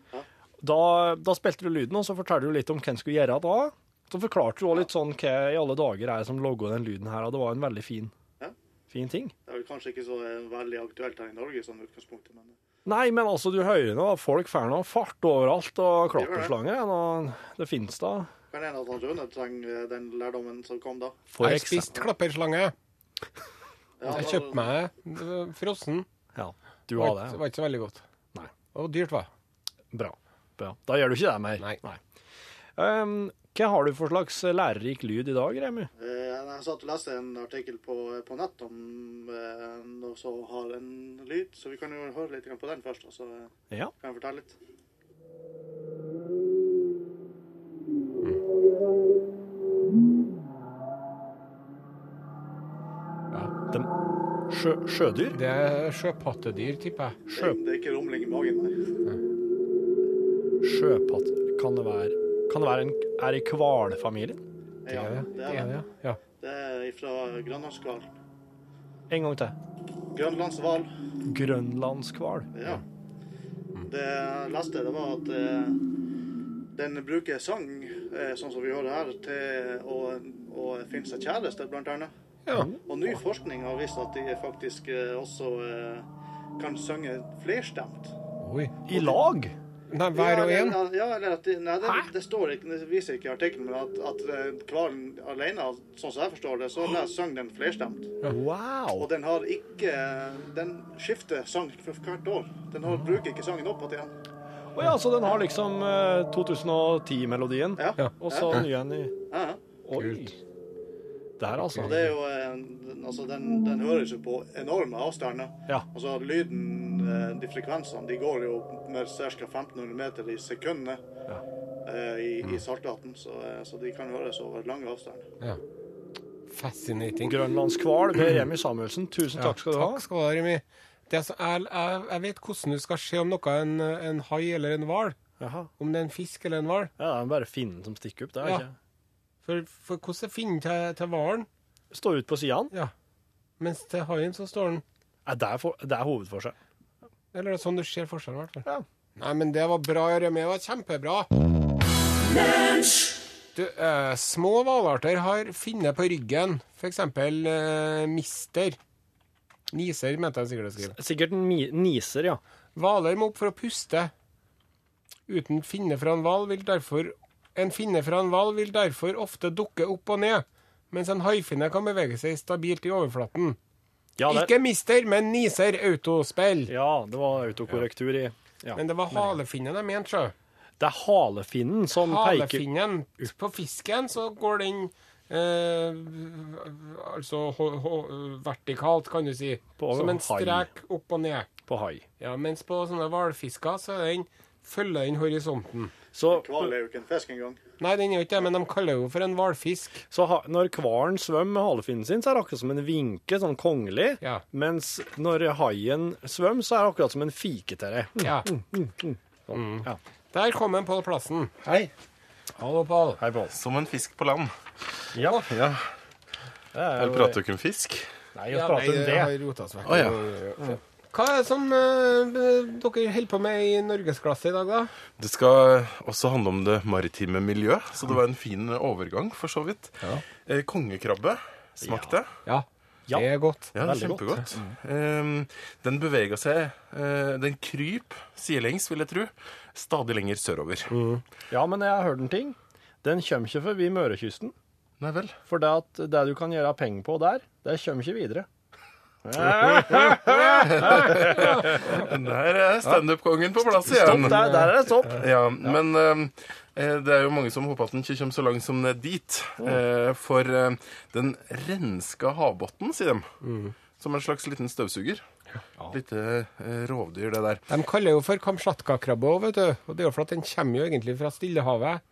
[SPEAKER 3] Da, da spilte du lyden, og så fortalte du litt om hvem skulle gjøre da. Så forklarte du også litt sånn hva i alle dager er det som logger den lyden her, og det var en veldig fin,
[SPEAKER 5] Ja.
[SPEAKER 3] fin ting.
[SPEAKER 5] Det er vel kanskje ikke så eh, veldig aktuelt her i Norge i sånn utgangspunktet, men
[SPEAKER 3] Nei, men altså, du hører nå, folk får nå fart overalt, og
[SPEAKER 5] Gjør det.
[SPEAKER 3] klapperslanger, og det finnes da.
[SPEAKER 5] kan hende at han Rune trenger eh, den lærdommen som kom da.
[SPEAKER 3] For
[SPEAKER 10] jeg
[SPEAKER 3] eksempel-
[SPEAKER 10] spiste klapperslange.
[SPEAKER 5] Ja,
[SPEAKER 10] Jeg
[SPEAKER 5] da-
[SPEAKER 10] kjøpte meg det var frossen.
[SPEAKER 3] Ja, du
[SPEAKER 10] Det
[SPEAKER 3] har
[SPEAKER 10] var,
[SPEAKER 3] det.
[SPEAKER 10] ikke- var ikke så veldig godt.
[SPEAKER 3] Nei.
[SPEAKER 10] Og dyrt, hva?
[SPEAKER 3] Bra. Bra. Da gjør du ikke det mer.
[SPEAKER 10] Nei.
[SPEAKER 3] Ehm, hva har du for slags lærerik lyd i dag, Remi?
[SPEAKER 5] Eh, Jeg satt og leste en artikkel på, eh, på nett om eh, noe som har en lyd, så vi kan jo høre litt grann på den først, og så eh,
[SPEAKER 3] Ja.
[SPEAKER 5] kan jeg fortelle litt.
[SPEAKER 3] Dem- sjø, sjødyr?
[SPEAKER 10] Det er sjøpattedyr, tipper jeg.
[SPEAKER 5] Det,
[SPEAKER 3] Sjø,
[SPEAKER 5] det er ikke rumling i magen, nei.
[SPEAKER 3] sjøpatt... Kan det være, kan det være en, er i kvalfamilien?
[SPEAKER 10] Det er det. Det er det, ja. ja.
[SPEAKER 5] Det er fra grønlandskval.
[SPEAKER 3] En gang til.
[SPEAKER 5] Grønlandshval.
[SPEAKER 3] Grønlandskval.
[SPEAKER 5] Ja.
[SPEAKER 10] Mm.
[SPEAKER 5] Det jeg leste, det var at eh, den bruker sang, eh, sånn som vi hører her, til å, å finne seg kjæreste, blant annet.
[SPEAKER 10] Ja.
[SPEAKER 5] Og ny forskning har vist at de faktisk eh, også eh, kan synge flerstemt.
[SPEAKER 10] Oi.
[SPEAKER 3] I lag?
[SPEAKER 10] Nei, hver og
[SPEAKER 5] Ja,
[SPEAKER 10] en?
[SPEAKER 5] eller- Ja, eller at de, nei, det, det står ikke, det viser ikke i artikkelen, men at, at eh, hvalen alene, sånn som jeg forstår det, så der sang den flerstemt. Og
[SPEAKER 3] Wow!
[SPEAKER 5] den har ikke Den skifter sang for hvert år. Den har, bruker ikke sangen opp igjen.
[SPEAKER 3] Å ja, så den har liksom 2010-melodien,
[SPEAKER 5] Ja.
[SPEAKER 10] Ja.
[SPEAKER 3] og så ny en i
[SPEAKER 5] Ja, ja.
[SPEAKER 3] Oi! Der, altså.
[SPEAKER 5] Og det er jo eh, den- Altså, den, den høres jo på enorme avstander.
[SPEAKER 3] Ja.
[SPEAKER 5] Altså, lyden, eh, de frekvensene, de går jo med ca. 1500 meter i sekundet
[SPEAKER 3] Ja.
[SPEAKER 5] eh, i, i Saltdaten, så, eh, så de kan høres over lange avstander.
[SPEAKER 10] Ja. Fascinating.
[SPEAKER 3] Grønlandskval ved Remi Samuelsen, tusen takk skal du
[SPEAKER 10] Ja,
[SPEAKER 3] ha.
[SPEAKER 10] Takk skal du ha, Remi. Det er så, jeg, jeg, jeg vet hvordan du skal se om noe er en, en hai eller en hval.
[SPEAKER 3] Jaha.
[SPEAKER 10] Om det er en fisk eller en hval.
[SPEAKER 3] Ja, det er bare finnen som stikker opp, det er
[SPEAKER 10] Ja.
[SPEAKER 3] ikke
[SPEAKER 10] For, for hvordan er finnen til, til hvalen?
[SPEAKER 3] Står ut på sidene.
[SPEAKER 10] Ja. Mens til haien så står den.
[SPEAKER 3] Ja, det er, for, det er hovedforskjell.
[SPEAKER 10] Eller det er sånn du ser forskjellen, i hvert fall.
[SPEAKER 3] Ja.
[SPEAKER 10] Nei, men det var bra, Remi. Det var kjempebra. Du, eh, små hvalarter har finne på ryggen. For eksempel eh, mister. Niser, mente jeg sikkert jeg skrev.
[SPEAKER 3] Sikkert en mi- niser, ja.
[SPEAKER 10] Hvaler må opp for å puste. Uten finne fra en hval vil derfor En finne fra en hval vil derfor ofte dukke opp og ned, mens en haifinne kan bevege seg stabilt i overflaten.
[SPEAKER 3] Ja, det,
[SPEAKER 10] Ikke mister, men niser autospill.
[SPEAKER 3] ja, det var autokorrektur i ja.
[SPEAKER 10] Men det var halefinnen jeg mente, sjø.
[SPEAKER 3] Det er halefinnen som peker
[SPEAKER 10] Halefinnen på fisken, så går den eh, altså hå- hå- vertikalt, kan du si.
[SPEAKER 3] På
[SPEAKER 10] Som en
[SPEAKER 3] hai.
[SPEAKER 10] strek opp og ned.
[SPEAKER 3] på hai.
[SPEAKER 10] Ja, mens på sånne hvalfisker så er den, følger den horisonten.
[SPEAKER 3] Så,
[SPEAKER 5] Hval er jo ikke en fisk engang.
[SPEAKER 10] Nei, den er jo ikke det, men de kaller jo for en hvalfisk.
[SPEAKER 3] så ha, når hvalen svømmer med halefinnen sin, så er det akkurat som en vinke, sånn kongelig.
[SPEAKER 10] Ja.
[SPEAKER 3] Mens når haien svømmer, så er det akkurat som en Mm. fike til deg.
[SPEAKER 10] Ja.
[SPEAKER 3] Sånn,
[SPEAKER 10] Mm.
[SPEAKER 3] Ja.
[SPEAKER 10] Der kom en Pål Plassen.
[SPEAKER 8] Hei.
[SPEAKER 10] Hallo, Pål.
[SPEAKER 3] Hei, Pål.
[SPEAKER 8] Som en fisk på land.
[SPEAKER 3] Ja, jeg
[SPEAKER 8] Ja. Eller prater du ikke om fisk?
[SPEAKER 3] Nei, jeg prater om det.
[SPEAKER 10] har rota oss vekk.
[SPEAKER 8] Å, ja.
[SPEAKER 10] Hva er det som eh, dere holder på med i norgesklasse i dag, da?
[SPEAKER 8] Det skal også handle om det maritime miljø, så det var en fin overgang, for så vidt. Eh, Kongekrabbe smakte.
[SPEAKER 10] Ja.
[SPEAKER 3] Ja.
[SPEAKER 10] Det er godt.
[SPEAKER 8] Ja, det er
[SPEAKER 3] Veldig godt.
[SPEAKER 8] kjempegodt. Eh, Den bevega seg eh, Den kryp sidelengs, vil jeg tro. Stadig lenger sørover.
[SPEAKER 3] Ja, men jeg har hørt en ting. Den kommer ikke forbi Mørekysten.
[SPEAKER 8] Nei vel.
[SPEAKER 3] For det, at det du kan gjøre penger på der, det kommer ikke videre.
[SPEAKER 8] Der er standup-kongen på plass igjen.
[SPEAKER 3] Stopp, der, der er det stopp.
[SPEAKER 8] Ja, men eh, det er jo mange som håper at den ikke kommer så langt som ned dit. Eh, for eh, den renska havbunnen, sier de. Som en slags liten støvsuger. Lite eh, rovdyr, det der.
[SPEAKER 10] De kaller jo for kamtsjatkakrabbe òg, vet du. Og det er jo for at den kommer jo egentlig fra Stillehavet,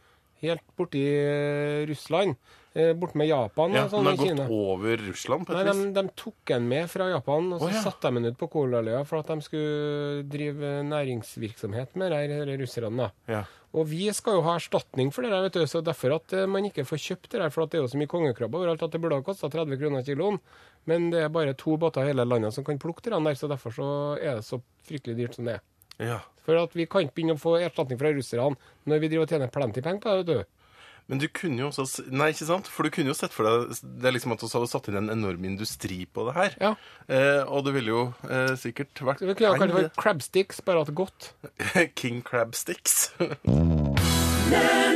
[SPEAKER 10] helt borti eh, Russland. eh, Borte med Japan
[SPEAKER 8] Ja, Den
[SPEAKER 10] og sånn
[SPEAKER 8] har
[SPEAKER 10] i
[SPEAKER 8] gått
[SPEAKER 10] Kina.
[SPEAKER 8] over Russland på
[SPEAKER 10] Nei,
[SPEAKER 8] et
[SPEAKER 10] de,
[SPEAKER 8] vis.
[SPEAKER 10] de tok den med fra Japan, og så
[SPEAKER 8] Å, ja.
[SPEAKER 10] satte de den ut på Kolaløya for at de skulle drive eh, næringsvirksomhet med de her russerne. da.
[SPEAKER 8] Ja.
[SPEAKER 10] Og vi skal jo ha erstatning for det der, vet du, så derfor at eh, man ikke får kjøpt det der, for at det er jo så mye kongekrabbe overalt at det burde ha kosta 30 kroner kiloen. Men det er bare to båter i hele landet som kan plukke det der, så derfor så er det så fryktelig dyrt som det er.
[SPEAKER 8] Ja.
[SPEAKER 10] For at vi kan ikke begynne å få erstatning fra russerne når vi driver og tjener plenty penger på det, vet du.
[SPEAKER 8] Men du kunne jo også s- Nei, ikke sant? For du kunne jo sett for deg Det er liksom at vi hadde satt inn en enorm industri på det her.
[SPEAKER 10] Ja.
[SPEAKER 8] Eh, og det ville jo eh, sikkert vært
[SPEAKER 10] Så vi kunne ha kalt det
[SPEAKER 8] Nei,
[SPEAKER 10] for crabsticks, bare at godt.
[SPEAKER 8] det- King Crab Sticks.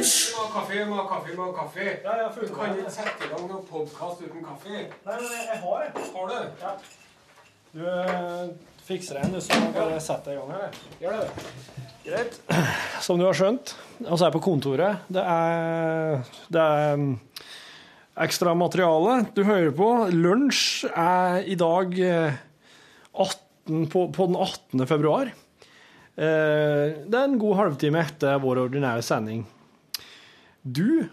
[SPEAKER 10] Må ha kaffe, må ha kaffe, må ha kaffe. Ja, ja, du kan ikke sette i gang noen podkast uten kaffe.
[SPEAKER 3] Nei, men jeg har det.
[SPEAKER 10] Har du?
[SPEAKER 3] Du eh, fikser en, du, så bare sett deg i gang her. jeg.
[SPEAKER 10] Gjør det.
[SPEAKER 3] Greit. Som du har skjønt, altså jeg er på kontoret. Det er, det er mm, ekstra materiale du hører på. Lunsj er i dag eh, 18, på, på den 18. februar. Eh, Det er en god halvtime etter vår ordinære sending. Du,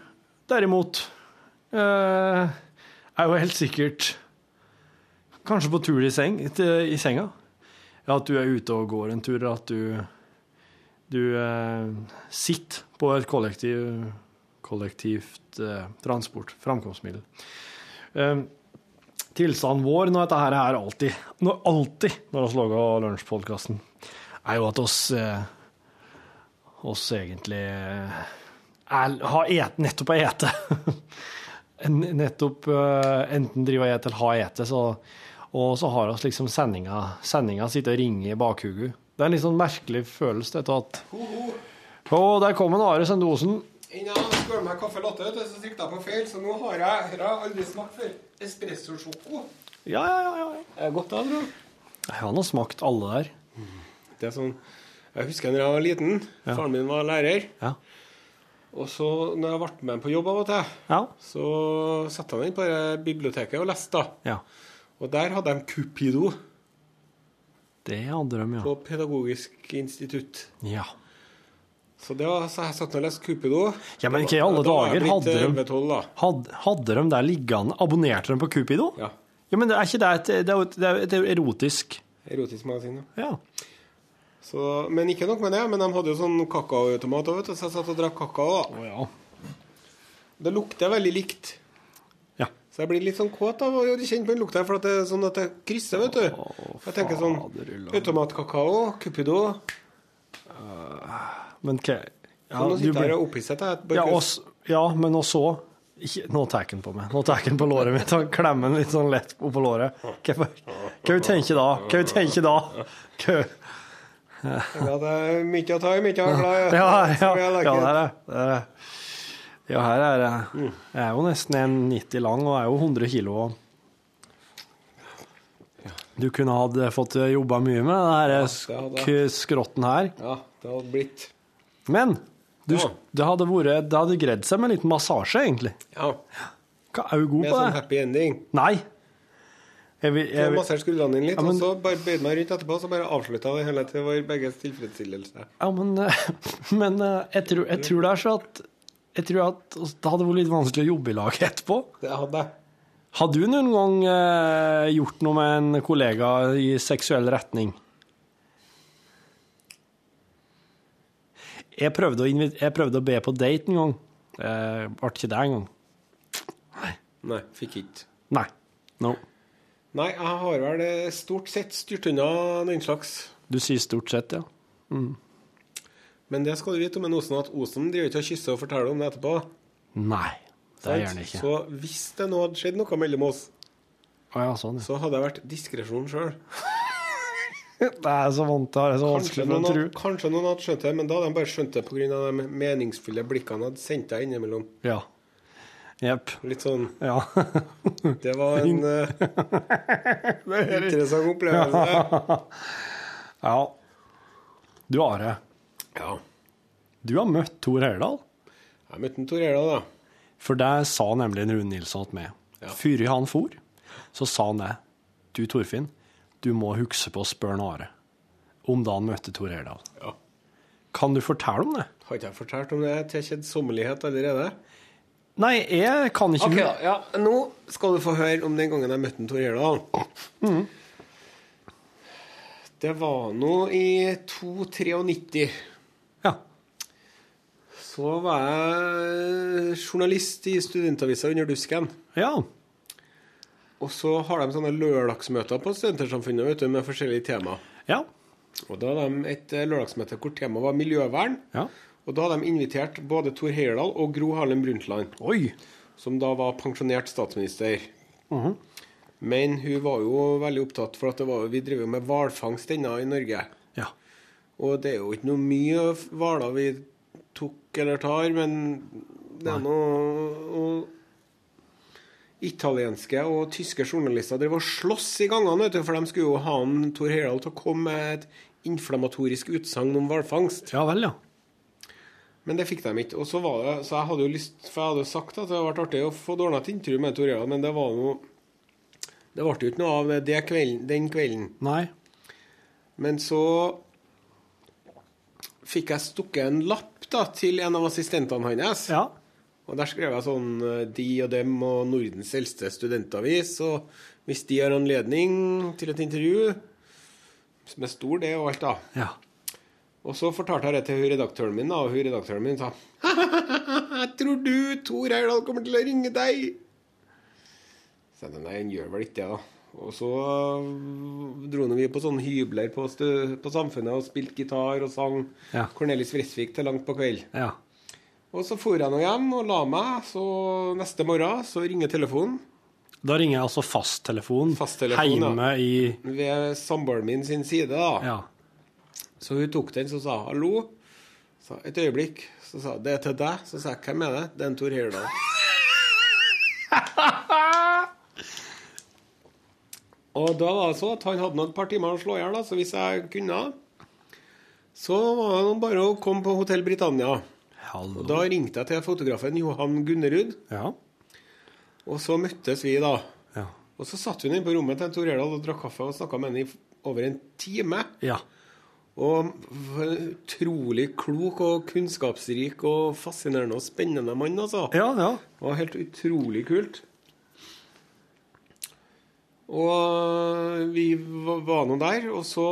[SPEAKER 3] derimot, eh, er jo helt sikkert kanskje på tur i, seng, til, i senga. Ja, at du er ute og går en tur, eller at du, du eh, sitter på et kollektiv, kollektivt eh, transport, framkomstmiddel. Eh, tilstanden vår når dette her er alltid, når, alltid når vi lager lunsjpodkasten, er jo at oss, eh, oss egentlig eh, er, har et, nettopp har ete. en- nettopp eh, enten driver og et eller har ete, så, og så har oss liksom sendinga, sendinga sitter og ringer i bakhuget. Det er en litt sånn merkelig følelse dette at Å, der kom en Are Sendosen.
[SPEAKER 10] Innan jeg skåler meg kaffe latte, vet du, så sikta jeg på feil, så nå har jeg her har jeg aldri smakt før. Espressosjoko.
[SPEAKER 3] Ja, ja, ja, ja, ja.
[SPEAKER 10] Det er godt, da,
[SPEAKER 3] Jeg har nå smakt alle der.
[SPEAKER 10] bro. Det er sånn Jeg husker da jeg var liten. Faren min var lærer.
[SPEAKER 3] Ja.
[SPEAKER 10] Og så, når jeg ble med på jobb av og til,
[SPEAKER 3] Ja.
[SPEAKER 10] så satte jeg meg inn på det biblioteket og leste, da.
[SPEAKER 3] ja.
[SPEAKER 10] Og der hadde de Cupido
[SPEAKER 3] Det hadde de, ja.
[SPEAKER 10] på Pedagogisk institutt.
[SPEAKER 3] Ja,
[SPEAKER 10] Så det var, så jeg satt og leste Cupido.
[SPEAKER 3] ja men ikke i alle
[SPEAKER 10] Da var jeg
[SPEAKER 3] dager.
[SPEAKER 10] blitt eh,
[SPEAKER 3] Hadde de,
[SPEAKER 10] 11-12 da.
[SPEAKER 3] hadde, hadde de der liggende Abonnerte de på Cupido?
[SPEAKER 10] Ja.
[SPEAKER 3] Ja, men det er ikke det et, det er jo et, det er jo et erotisk
[SPEAKER 10] Erotisk magasin, ja.
[SPEAKER 3] Ja.
[SPEAKER 10] Så, men ikke nok med det, men de hadde jo sånn kakaoautomat òg, vet du, så jeg satt og drakk kakao. da.
[SPEAKER 3] Å ja.
[SPEAKER 10] Det lukter veldig likt.
[SPEAKER 3] Ja.
[SPEAKER 10] Så jeg blir litt sånn kåt av å kjenne på den lukta, for at det er sånn at det krysser, vet du. Jeg tenker sånn
[SPEAKER 3] faderullan.
[SPEAKER 10] automatkakao, cupido
[SPEAKER 3] Men hva ja,
[SPEAKER 10] Så nå
[SPEAKER 3] du
[SPEAKER 10] sitter jeg
[SPEAKER 3] blir-
[SPEAKER 10] her og opphisset. Jeg, bare
[SPEAKER 3] ja,
[SPEAKER 10] kryss.
[SPEAKER 3] og s- ja, men og så ikke, Nå tar han på meg. Nå tar han på låret mitt og klemmer den litt sånn lett oppå låret. Hva hva tenker du da? Hva tenker du da? Hva
[SPEAKER 10] ja, det er mye å ta i, mye å glad i.
[SPEAKER 3] Ja, ja,
[SPEAKER 10] Så
[SPEAKER 3] ja,
[SPEAKER 10] jeg
[SPEAKER 3] det
[SPEAKER 10] liker
[SPEAKER 3] er det. det er det. Ja, her er det. Jeg er jo nesten 1,90 lang og er jo 100 kilo. og- Du kunne hatt eh, fått jobba mye med den her eh,
[SPEAKER 10] det hadde
[SPEAKER 3] sk skrotten her.
[SPEAKER 10] Ja, det hadde blitt
[SPEAKER 3] Men du,
[SPEAKER 10] Ja.
[SPEAKER 3] det hadde vært Det hadde greid seg med en liten massasje, egentlig.
[SPEAKER 10] Ja,
[SPEAKER 3] Hva er du god
[SPEAKER 10] med sånn
[SPEAKER 3] på det?
[SPEAKER 10] happy ending.
[SPEAKER 3] Nei. Jeg vil, jeg
[SPEAKER 10] Jeg
[SPEAKER 3] vil,
[SPEAKER 10] masserte skuldrene dine litt,
[SPEAKER 3] Ja, men-
[SPEAKER 10] og så bare bøyde meg rundt etterpå, så bare avslutta vi hele til vår begges tilfredsstillelse.
[SPEAKER 3] Ja, men, eh, men eh, jeg, tror, jeg tror det er så at Jeg tror at det hadde vært litt vanskelig å jobbe i lag etterpå.
[SPEAKER 10] Det hadde jeg.
[SPEAKER 3] Har du noen gang eh, gjort noe med en kollega i seksuell retning? Jeg prøvde å, invi- jeg prøvde å be på date en gang. Eh, Ble ikke det engang.
[SPEAKER 10] Nei, fikk ikke.
[SPEAKER 3] Nei. No.
[SPEAKER 10] Nei, jeg har vel eh, stort sett styrt unna den slags.
[SPEAKER 3] Du sier stort sett, ja.
[SPEAKER 10] Men det skal du vite om en Osen, at Osen driver ikke og kysser og forteller om det etterpå.
[SPEAKER 3] Nei. Det gjør han
[SPEAKER 10] sant?
[SPEAKER 3] ikke.
[SPEAKER 10] Så hvis det nå hadde skjedd noe mellom oss,
[SPEAKER 3] Å ja, sånn, ja.
[SPEAKER 10] så hadde jeg vært diskresjon sjøl.
[SPEAKER 3] Det er så vondt, det er så vanskelig
[SPEAKER 10] Kanskje,
[SPEAKER 3] for
[SPEAKER 10] noen
[SPEAKER 3] å tro.
[SPEAKER 10] hadde- kanskje noen hadde skjønt det, men da hadde de bare skjønt det pga. de meningsfulle blikkene han hadde sendt deg innimellom.
[SPEAKER 3] Ja. Jepp.
[SPEAKER 10] Litt sånn
[SPEAKER 3] Ja.
[SPEAKER 10] Det var en eh, interessant opplevelse.
[SPEAKER 3] ja. Du, Are.
[SPEAKER 10] Ja.
[SPEAKER 3] Du har møtt Tor Heyerdahl.
[SPEAKER 10] Jeg møtte en Tor Heyerdahl, da.
[SPEAKER 3] For det sa nemlig Rune Nilsson til meg. Før han for, så sa han det. Du, Torfinn, du må huske på å spørre han Are om da han møtte Tor Heyerdahl.
[SPEAKER 10] Ja.
[SPEAKER 3] Kan du fortelle om det?
[SPEAKER 10] Har ikke jeg fortalt om det til kjedsommelighet allerede?
[SPEAKER 3] Nei, jeg kan ikke
[SPEAKER 10] Ok, da. Ja, nå skal du få høre om den gangen jeg møtte en Tor Heyerdahl. Mm. Det var nå i 293.
[SPEAKER 3] Ja.
[SPEAKER 10] Så var jeg journalist i studentavisa Under Dusken.
[SPEAKER 3] ja.
[SPEAKER 10] Og så har de sånne lørdagsmøter på Studentersamfunnet vet du, med forskjellige temaer.
[SPEAKER 3] Ja.
[SPEAKER 10] Og da hadde de et eh, lørdagsmøte hvor temaet var miljøvern.
[SPEAKER 3] Ja.
[SPEAKER 10] Og da hadde de invitert både Tor Heyerdahl og Gro Harlem Brundtland,
[SPEAKER 3] Oi.
[SPEAKER 10] som da var pensjonert statsminister. Men hun var jo veldig opptatt, for at det var, vi driver jo med hvalfangst ennå i Norge.
[SPEAKER 3] Ja.
[SPEAKER 10] Og det er jo ikke noe mye hvaler vi tok eller tar, men det er noe og Italienske og tyske journalister drev og sloss i gangene, vet du, for de skulle jo ha han, Tor Heyerdahl til å komme med et inflammatorisk utsagn om hvalfangst.
[SPEAKER 3] Ja vel, ja.
[SPEAKER 10] Men det fikk de ikke. Og så var det, så jeg hadde jo lyst For jeg hadde jo sagt at det hadde vært artig å få ordna et intervju med Tor Heyerdahl, men det var noe Det ble jo ikke noe av det, det kvelden, den kvelden.
[SPEAKER 3] Nei.
[SPEAKER 10] Men så fikk jeg stukket en lapp da til en av assistentene hans.
[SPEAKER 3] Ja.
[SPEAKER 10] Og der skrev jeg sånn eh, De og dem og Nordens eldste studentavis. Og hvis de har anledning til et intervju Med stor D og alt, da.
[SPEAKER 3] Ja.
[SPEAKER 10] Og så fortalte jeg det til hun redaktøren min, da, og hun redaktøren min sa Jeg tror du, Tor Heyerdahl, kommer til å ringe deg. Så jeg tenkte, nei, han gjør vel ikke det, da. Og så øh, dro nå vi på sånne hybler på, stø- på Samfunnet og spilte gitar og sang
[SPEAKER 3] Ja.
[SPEAKER 10] Cornelis Vresvig til langt på kveld.
[SPEAKER 3] Ja.
[SPEAKER 10] Og så for jeg nå hjem og la meg, så neste morgen så ringer telefonen
[SPEAKER 3] Da ringer jeg altså fasttelefonen
[SPEAKER 10] Fasttelefon, ja.
[SPEAKER 3] hjemme i
[SPEAKER 10] ved samboeren min sin side, da.
[SPEAKER 3] Ja.
[SPEAKER 10] Så hun tok den, så sa hun, 'hallo'. Sa, et øyeblikk. Så sa hun, 'det er til deg'. Så sa jeg 'hvem er det?' Det er en Tor Heyerdahl. Og da var det så at han hadde nå et par timer å slå i hjel, da, så hvis jeg kunne Så var det nå bare å komme på Hotell Britannia. Og
[SPEAKER 3] Hallo.
[SPEAKER 10] da ringte jeg til fotografen Johan Gunnerud,
[SPEAKER 3] Ja.
[SPEAKER 10] og så møttes vi, da.
[SPEAKER 3] Ja.
[SPEAKER 10] Og så satt hun inne på rommet til en Tor Heyerdahl og drakk kaffe og snakka med ham i f- over en time.
[SPEAKER 3] Ja.
[SPEAKER 10] Og for en utrolig klok og kunnskapsrik og fascinerende og spennende mann, altså.
[SPEAKER 3] Ja, ja.
[SPEAKER 10] Det var helt utrolig kult. Og vi va- var nå der, og så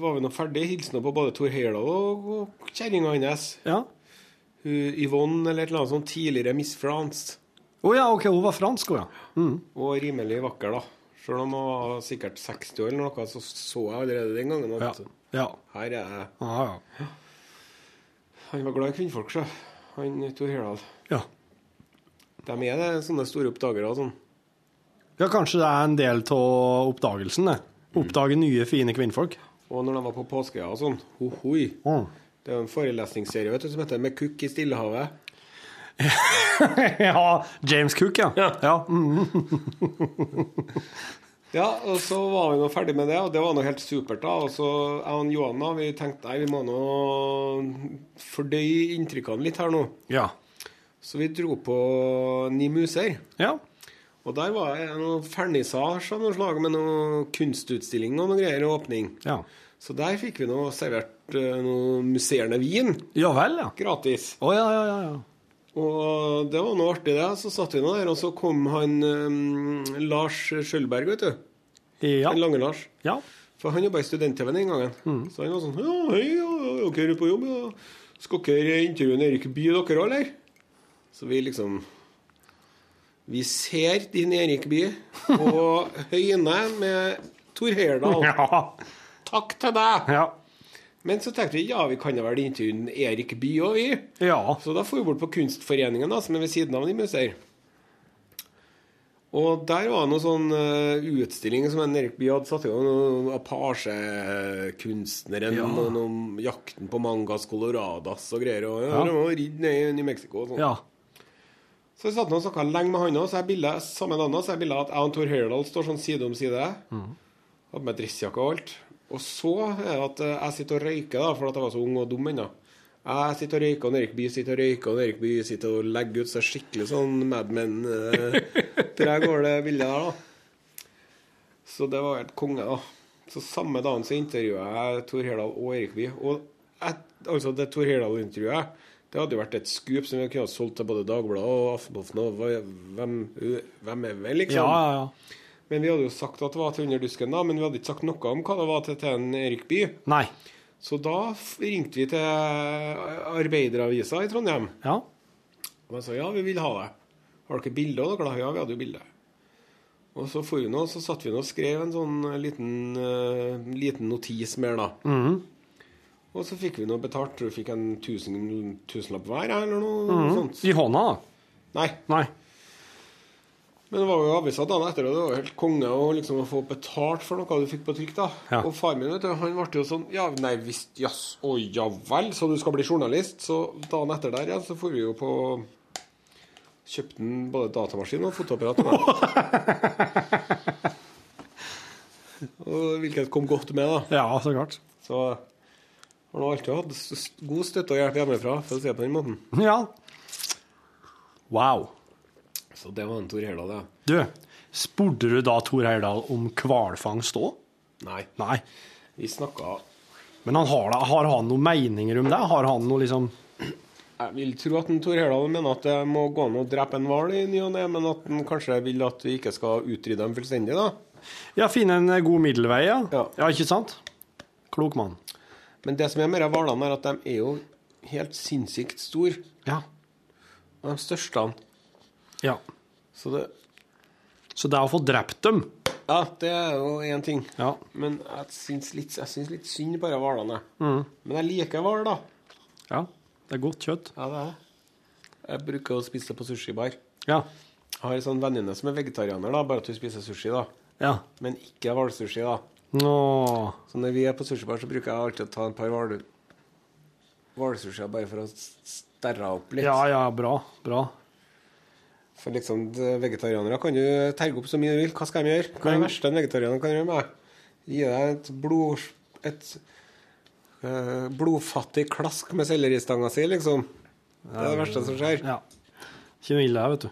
[SPEAKER 10] var vi nå ferdig. Hilsen nå på både Tor Heyerdahl og, og kjerringa hans.
[SPEAKER 3] Ja.
[SPEAKER 10] Hun Yvonne eller et eller annet sånt tidligere Miss France.
[SPEAKER 3] Å ja, OK, hun var fransk, hun, ja. Mm.
[SPEAKER 10] Og rimelig vakker, da. Sjøl om hun var sikkert 60 år eller noe, så så jeg allerede den gangen
[SPEAKER 3] Ja.
[SPEAKER 10] at
[SPEAKER 3] ja.
[SPEAKER 10] her er jeg
[SPEAKER 3] ja, ja.
[SPEAKER 10] Han var glad i kvinnfolk, sjø. Han Tor Heyerdahl.
[SPEAKER 3] Ja.
[SPEAKER 10] De er det, sånne store oppdagere og sånn.
[SPEAKER 3] ja, kanskje det er en del av oppdagelsen, det. Oppdage nye, fine kvinnfolk. Mm.
[SPEAKER 10] Og når de var på påskeøya og sånn, hohoi. Det er jo en forelesningsserie vet du, som heter 'Med kukk i Stillehavet'.
[SPEAKER 3] ja, James Cook, ja. ja. mm.
[SPEAKER 10] Ja, og så var vi nå ferdig med det, og det var nå helt supert, da. Og så jeg og Johanna vi tenkte nei, vi må nå fordøye inntrykkene litt her nå.
[SPEAKER 3] ja.
[SPEAKER 10] Så vi dro på Ni muser.
[SPEAKER 3] Ja.
[SPEAKER 10] Og der var det noe fernisasje av noe slag med noe kunstutstilling og noe greier og åpning.
[SPEAKER 3] Ja.
[SPEAKER 10] Så der fikk vi nå servert eh, noe musserende vin
[SPEAKER 3] ja vel, ja.
[SPEAKER 10] gratis.
[SPEAKER 3] Å ja, ja, ja, ja.
[SPEAKER 10] Og det var noe artig, det. Så satt vi nå der, og så kom han eh, Lars Skjølberg, vet du.
[SPEAKER 3] Ja. Mm.
[SPEAKER 10] Den lange Lars.
[SPEAKER 3] ja.
[SPEAKER 10] For han jobba i student-TV den gangen. Så han var sånn Ja, hei, ja, er dere på jobb? Ja. Skal dere intervjue Erik Bye, dere òg, eller? Så vi liksom Vi ser din Erik Bye på høyene med Tor Heyerdahl.
[SPEAKER 3] Ja.
[SPEAKER 10] Takk til deg!
[SPEAKER 3] Ja.
[SPEAKER 10] Men så tenkte vi ja, vi kan da vel intervjue Erik Bye òg, vi.
[SPEAKER 3] Ja.
[SPEAKER 10] Så da for vi bort på Kunstforeningen, da, som er ved siden av de museer. Og der var det noen sånn eh, utstilling som en Erik Bye hadde satt i gang. noen Apache-kunstneren og noen jakten på mangas coloradas og greier. Og ja.
[SPEAKER 3] Ja.
[SPEAKER 10] de var ridd ned i New Mexico og sånn.
[SPEAKER 3] ja.
[SPEAKER 10] Så jeg satt noen snakka lenge med han òg, så jeg bildet, samme navnet, så jeg bildet at jeg og Tor Heyerdahl står sånn side om side. Hadde med dressjakke og alt. Og så er det at eh, jeg sitter og røyker, da, for at jeg var så ung og dum ennå. Jeg sitter og røyker, og Erik Bye sitter og røyker, og Erik Bye sitter og legger ut seg skikkelig sånn Mad Men. eh, Der går det bildet der, da. Så det var helt konge, da. Så samme dagen så intervjuet jeg Tor Heyerdahl og Erik Bye. Og et, altså det Tor Heyerdahl-intervjuet det hadde jo vært et skup som vi kunne ha solgt til både Dagbladet og Aftenposten og hva- hvem, hvem er vi, liksom?
[SPEAKER 3] ja, ja.
[SPEAKER 10] Men vi hadde jo sagt at det var til underdusken, da, men vi hadde ikke sagt noe om hva det var til, til en Erik Bye.
[SPEAKER 3] Nei.
[SPEAKER 10] Så da f- ringte vi til Arbeideravisa i Trondheim.
[SPEAKER 3] Ja.
[SPEAKER 10] Og de sa ja, vi vil ha det. Har dere bilde av dere? da?» Ja, vi hadde jo bilde. Og så for vi nå, så satt vi nå og skrev en sånn eh, liten, eh, liten notis mer, da. Og så fikk vi nå betalt, tror jeg vi fikk en tusen, tusenlapp hver, eller noe sånt.
[SPEAKER 3] I hånda, da.
[SPEAKER 10] Nei.
[SPEAKER 3] Nei.
[SPEAKER 10] Men det var jo avisa dagen etter, og det var jo helt konge å liksom få betalt for noe du fikk på trykk. da.
[SPEAKER 3] Ja.
[SPEAKER 10] Og far min vet du, han ble jo sånn Ja, nei visst, jøss, å ja vel, så du skal bli journalist? Så dagen etter der igjen, så for vi jo på Kjøpte han både datamaskin og fotoapparat. til meg. og hvilket kom godt med, da.
[SPEAKER 3] Ja, så klart.
[SPEAKER 10] Så har nå alltid hatt s- s- god støtte og hjelp hjemmefra, for å si det på den måten.
[SPEAKER 3] Ja. Wow.
[SPEAKER 10] Så det var en Tor Heyerdahl, det.
[SPEAKER 3] Du, spurte du da Tor Heyerdahl om hvalfangst òg?
[SPEAKER 10] Nei.
[SPEAKER 3] Nei.
[SPEAKER 10] Vi snakka
[SPEAKER 3] Men han har, da, har han noen meninger om det? Har han noe liksom
[SPEAKER 10] Jeg vil tro at en Tor Heyerdahl mener at det må gå an å drepe en hval i ny og ne, men at han kanskje vil at vi ikke skal utrydde dem fullstendig, da.
[SPEAKER 3] Ja, finne en god middelvei, ja.
[SPEAKER 10] Ja.
[SPEAKER 3] ikke sant? Klok mann.
[SPEAKER 10] Men det som er med de hvalene, er at de er jo helt sinnssykt store.
[SPEAKER 3] Ja.
[SPEAKER 10] De største.
[SPEAKER 3] ja.
[SPEAKER 10] Så det
[SPEAKER 3] Så det å få drept dem
[SPEAKER 10] Ja, det er jo én ting.
[SPEAKER 3] Ja.
[SPEAKER 10] Men jeg syns litt, jeg syns litt synd på de hvalene. Men jeg liker hval, da.
[SPEAKER 3] Ja, det er godt kjøtt.
[SPEAKER 10] Ja, det er jeg. Jeg bruker å spise det på sushibar.
[SPEAKER 3] Ja.
[SPEAKER 10] Jeg har en sånn venninne som er vegetarianer, da, bare at hun spiser sushi, da.
[SPEAKER 3] Ja.
[SPEAKER 10] Men ikke hvalsushi, da.
[SPEAKER 3] Nå
[SPEAKER 10] Så når vi er på sushibar, så bruker jeg alltid å ta en par hval- hvalsushier bare for å s- sterre opp litt.
[SPEAKER 3] Ja, ja, bra. Bra.
[SPEAKER 10] For liksom, d- vegetarianere kan du terge opp så mye du vil. Hva skal de gjøre? Hva er det verste en vegetarianer kan gjøre med deg? Gi deg et, blod, et eh, blodfattig klask med selleristanga si, liksom. Det er det verste som skjer.
[SPEAKER 3] Ja. Ikke noe ille, vet du.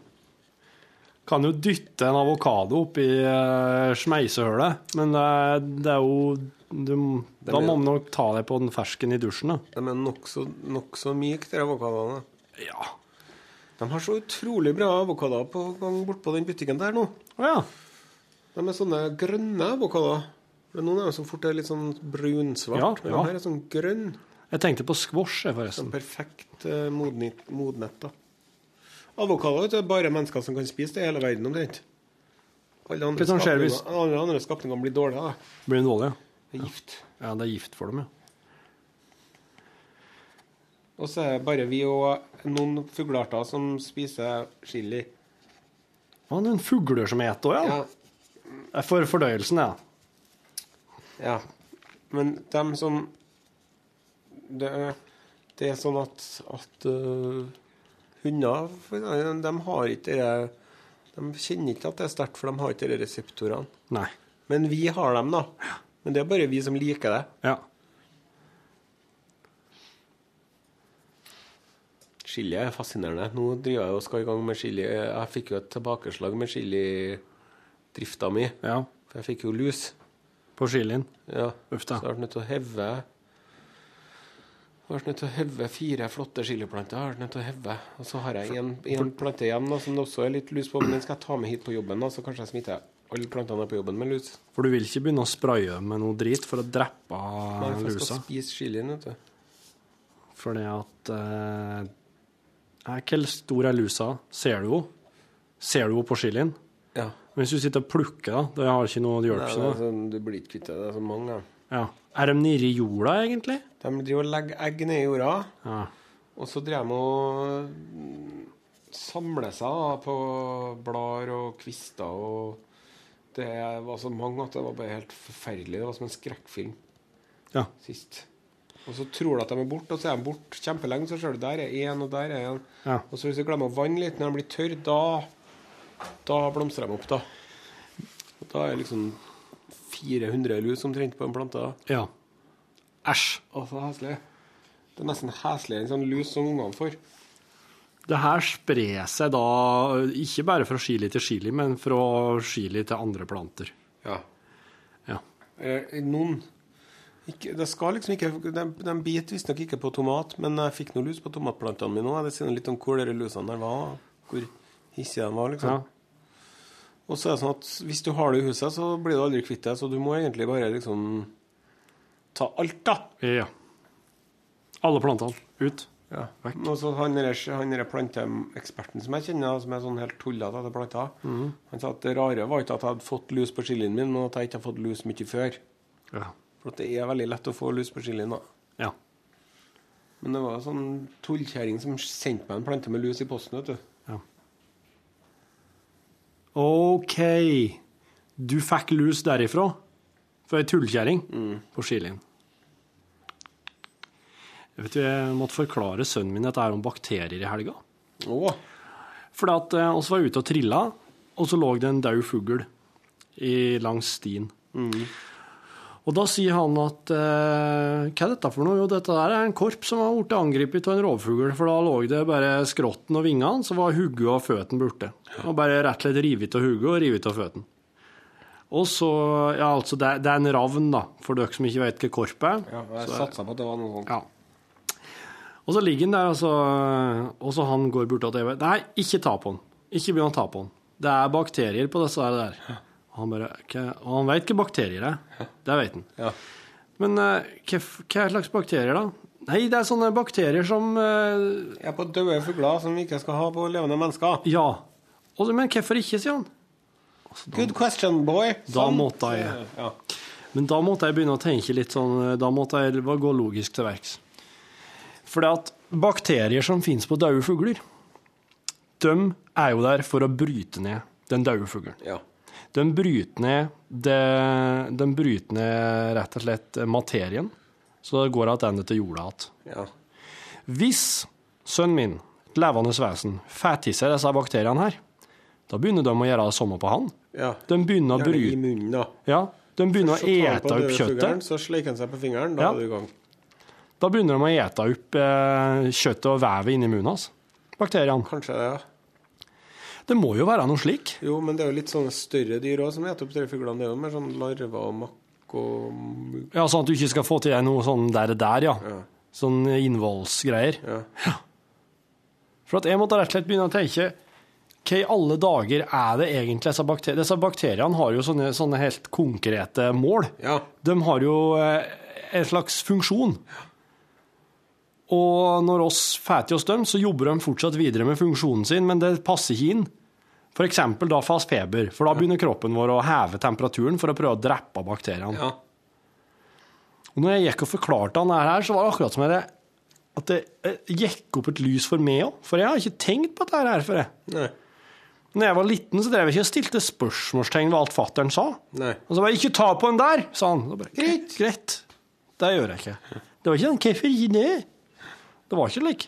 [SPEAKER 3] Kan jo dytte en avokado oppi uh, smeisehullet, men det er, det er jo du, Da
[SPEAKER 10] blir-
[SPEAKER 3] må man nok ta deg på den fersken i dusjen, da.
[SPEAKER 10] De er nokså nok så myke, de avokadoene.
[SPEAKER 3] Ja.
[SPEAKER 10] De har så utrolig bra avokadoer på gang bortpå den butikken der nå.
[SPEAKER 3] Å ja.
[SPEAKER 10] De er sånne grønne avokadoer. For Noen er jo så fort det er litt sånn brunsvart,
[SPEAKER 3] Ja,
[SPEAKER 10] men
[SPEAKER 3] ja.
[SPEAKER 10] den her er sånn grønn.
[SPEAKER 3] Jeg tenkte på squash, jeg,
[SPEAKER 10] Sånn
[SPEAKER 3] forresten.
[SPEAKER 10] perfekt eh, modnet, modnet da. Avokado vet du, er bare mennesker som kan spise det i hele verden omtrent. Alle andre,
[SPEAKER 3] Hva som skjer
[SPEAKER 10] skapninger-
[SPEAKER 3] hvis-
[SPEAKER 10] alle andre skapninger blir dårlige, da.
[SPEAKER 3] Blir den dårlig, ja?
[SPEAKER 10] Det er gift.
[SPEAKER 3] Ja, det er gift for dem, ja.
[SPEAKER 10] Og så er det bare vi og noen fuglearter som spiser chili.
[SPEAKER 3] Å, noen fugler som eter òg, ja.
[SPEAKER 10] Ja,
[SPEAKER 3] Det er For fordøyelsen, ja.
[SPEAKER 10] ja. Men dem som Det, er- det er sånn at, at eh, hunder for eksempel, de har ikke det De kjenner ikke at det er sterkt, for de har ikke de reseptorene.
[SPEAKER 3] Nei.
[SPEAKER 10] Men vi har dem, da. Men det er bare vi som liker det.
[SPEAKER 3] Ja.
[SPEAKER 10] Chili er fascinerende. Nå driver jeg og skal i gang med chili. Jeg fikk jo et tilbakeslag med chilidrifta mi.
[SPEAKER 3] ja.
[SPEAKER 10] For jeg fikk jo lus.
[SPEAKER 3] På chilien.
[SPEAKER 10] Ja.
[SPEAKER 3] Uff da.
[SPEAKER 10] Så jeg ble nødt til å heve jeg ble nødt til å heve fire flotte chiliplanter. Jeg ble nødt til å heve. Og så har jeg en, en plante igjen da, som det også er litt lus på, men den skal jeg ta med hit på jobben. da, Så kanskje jeg smitter alle plantene på jobben med lus.
[SPEAKER 3] For du vil ikke begynne å spraye med noe drit for å drepe
[SPEAKER 10] Nei, for jeg
[SPEAKER 3] lusa.
[SPEAKER 10] skal spise chilien, vet du.
[SPEAKER 3] Fordi at eh, eh, Hvor stor er lusa? Ser du henne? Ser du henne på chilien?
[SPEAKER 10] Ja.
[SPEAKER 3] Hvis du sitter og plukker, da Det har ikke noe det
[SPEAKER 10] Nei,
[SPEAKER 3] hjelper
[SPEAKER 10] det
[SPEAKER 3] ikke
[SPEAKER 10] er
[SPEAKER 3] noe.
[SPEAKER 10] sånn, du blir ikke kvitt det. Det er så mange. Ja.
[SPEAKER 3] Ja. Er de nede i jorda, egentlig?
[SPEAKER 10] De driver og legger egg ned i jorda,
[SPEAKER 3] Ja.
[SPEAKER 10] og så driver de og mm, samler seg da, på blader og kvister. og Det var så mange at det var bare helt forferdelig. Det var som en skrekkfilm
[SPEAKER 3] Ja.
[SPEAKER 10] sist. Og så tror du at de er borte, og så er de borte kjempelenge. Så ser du der er én, og der er én.
[SPEAKER 3] Ja.
[SPEAKER 10] Og så hvis du glemmer å vanne litt når de blir tørre, da, da blomstrer de opp, da. Og da er liksom 400 lus omtrent på en plante. da.
[SPEAKER 3] Ja. Æsj.
[SPEAKER 10] Å, så heslig. Det er nesten hesligere enn sånn lus som ungene får.
[SPEAKER 3] Det her sprer seg da ikke bare fra chili til chili, men fra chili til andre planter.
[SPEAKER 10] Ja.
[SPEAKER 3] Ja.
[SPEAKER 10] Eh, noen ikke, det skal liksom ikke, De, de biter visstnok ikke på tomat, men jeg fikk noe lus på tomatplantene mine òg. Det sier noe litt om hvor de lusene der var, hvor hissige de var. liksom.
[SPEAKER 3] Ja.
[SPEAKER 10] Og så er det sånn at hvis du har det i huset, så blir du aldri kvitt det. Så du må egentlig bare liksom ta alt, da.
[SPEAKER 3] ja. Alle plantene ut. Vekk.
[SPEAKER 10] Og så han der- han der planteeksperten som jeg kjenner, som er sånn helt tullete etter planter,
[SPEAKER 3] Mhm.
[SPEAKER 10] han sa at det rare var ikke at jeg hadde fått lus på chilien min, men at jeg ikke har fått lus mye før.
[SPEAKER 3] Ja.
[SPEAKER 10] For at det er veldig lett å få lus på chilien, da.
[SPEAKER 3] ja.
[SPEAKER 10] Men det var en sånn tullkjerring som sendte meg en plante med lus i posten, vet du.
[SPEAKER 3] OK. Du fikk lus derifra? For ei tullkjerring på chilien. Jeg vet du, jeg måtte forklare sønnen min dette her om bakterier i helga.
[SPEAKER 10] Å,
[SPEAKER 3] Fordi at eh, oss var ute og trilla, og så lå det en død fugl i- langs stien.
[SPEAKER 10] Mm.
[SPEAKER 3] Og da sier han at eh, hva er dette for noe? Jo, dette der er en korp som har blitt angrepet av en rovfugl. For da lå det bare skrotten og vingene, så var hodet og føttene borte. Og bare rett og slett revet av hodet og revet av føttene. Og så, ja altså, det, er- det er en ravn, da, for dere som ikke vet hva korp er.
[SPEAKER 10] ja, jeg satsa på at det var noe sånt.
[SPEAKER 3] Ja. Og så ligger han der, og så, og så han går bort til TV. Nei, ikke ta på han. Ikke begynn å ta på han. Det er bakterier på disse her der. Og han, bare, «Hva?» og han vet hva bakterier er. Det vet han.
[SPEAKER 10] Ja.
[SPEAKER 3] Men eh, hva, hva slags bakterier, da? Nei, det er sånne bakterier som eh,
[SPEAKER 10] Jeg er på døde fugler som vi ikke skal ha på levende mennesker.
[SPEAKER 3] Ja. Og så, men hvorfor ikke, sier han.
[SPEAKER 10] Good question, boy.
[SPEAKER 3] Da måtte jeg
[SPEAKER 10] Ja.
[SPEAKER 3] Men da måtte jeg begynne å tenke litt sånn Da måtte jeg bare gå logisk til verks. For det at bakterier som finnes på døde fugler, de er jo der for å bryte ned den døde fuglen.
[SPEAKER 10] Ja.
[SPEAKER 3] De bryter ned, det, de bryter ned rett og slett materien, så det går tilbake til jorda igjen.
[SPEAKER 10] ja.
[SPEAKER 3] Hvis sønnen min, et levende vesen, får til seg disse bakteriene her, da begynner de å gjøre det samme på han.
[SPEAKER 10] ja.
[SPEAKER 3] De begynner å
[SPEAKER 10] Gjerne i
[SPEAKER 3] bryte
[SPEAKER 10] munnen, da.
[SPEAKER 3] Ja, de begynner
[SPEAKER 10] Så
[SPEAKER 3] å
[SPEAKER 10] tar han på
[SPEAKER 3] ete opp
[SPEAKER 10] døde
[SPEAKER 3] kjøttet.
[SPEAKER 10] fuglen, Så sleiker han seg på fingeren, da
[SPEAKER 3] Ja.
[SPEAKER 10] er du i gang.
[SPEAKER 3] Da begynner de å ete opp eh, kjøttet og vevet inni munnen hans. Bakteriene.
[SPEAKER 10] Kanskje det, ja.
[SPEAKER 3] Det må jo være noe slik.
[SPEAKER 10] Jo, men det er jo litt sånne større dyr òg som spiser opp døde fuglene. Det er jo mer sånn larver og makk og mugg.
[SPEAKER 3] Ja, Sånn at du ikke skal få til deg noe sånn der, der ja.
[SPEAKER 10] Ja.
[SPEAKER 3] Sånn innvollsgreier.
[SPEAKER 10] Ja.
[SPEAKER 3] For at jeg måtte rett og slett begynne å tenke hva i alle dager er det egentlig disse bakteriene Disse bakteriene har jo sånne, sånne helt konkrete mål.
[SPEAKER 10] ja.
[SPEAKER 3] De har jo eh, en slags funksjon. Og når oss får til oss dem, så jobber de fortsatt videre med funksjonen sin, men det passer ikke inn. For eksempel da fast feber, for da begynner kroppen vår å heve temperaturen for å prøve å drepe bakteriene.
[SPEAKER 10] ja.
[SPEAKER 3] Og når jeg gikk og forklarte han det her, så var det akkurat som jeg, at det eh, gikk opp et lys for meg òg. For jeg har ikke tenkt på dette her før. jeg.
[SPEAKER 10] Nei.
[SPEAKER 3] Når jeg var liten, så drev jeg ikke og stilte spørsmålstegn ved alt fattern sa.
[SPEAKER 10] Nei.
[SPEAKER 3] Og så bare 'Ikke ta på den der', sa han. Da bare, greit. greit. Det gjør jeg ikke. Det var ikke den Hvorfor ikke det? Det var ikke slik.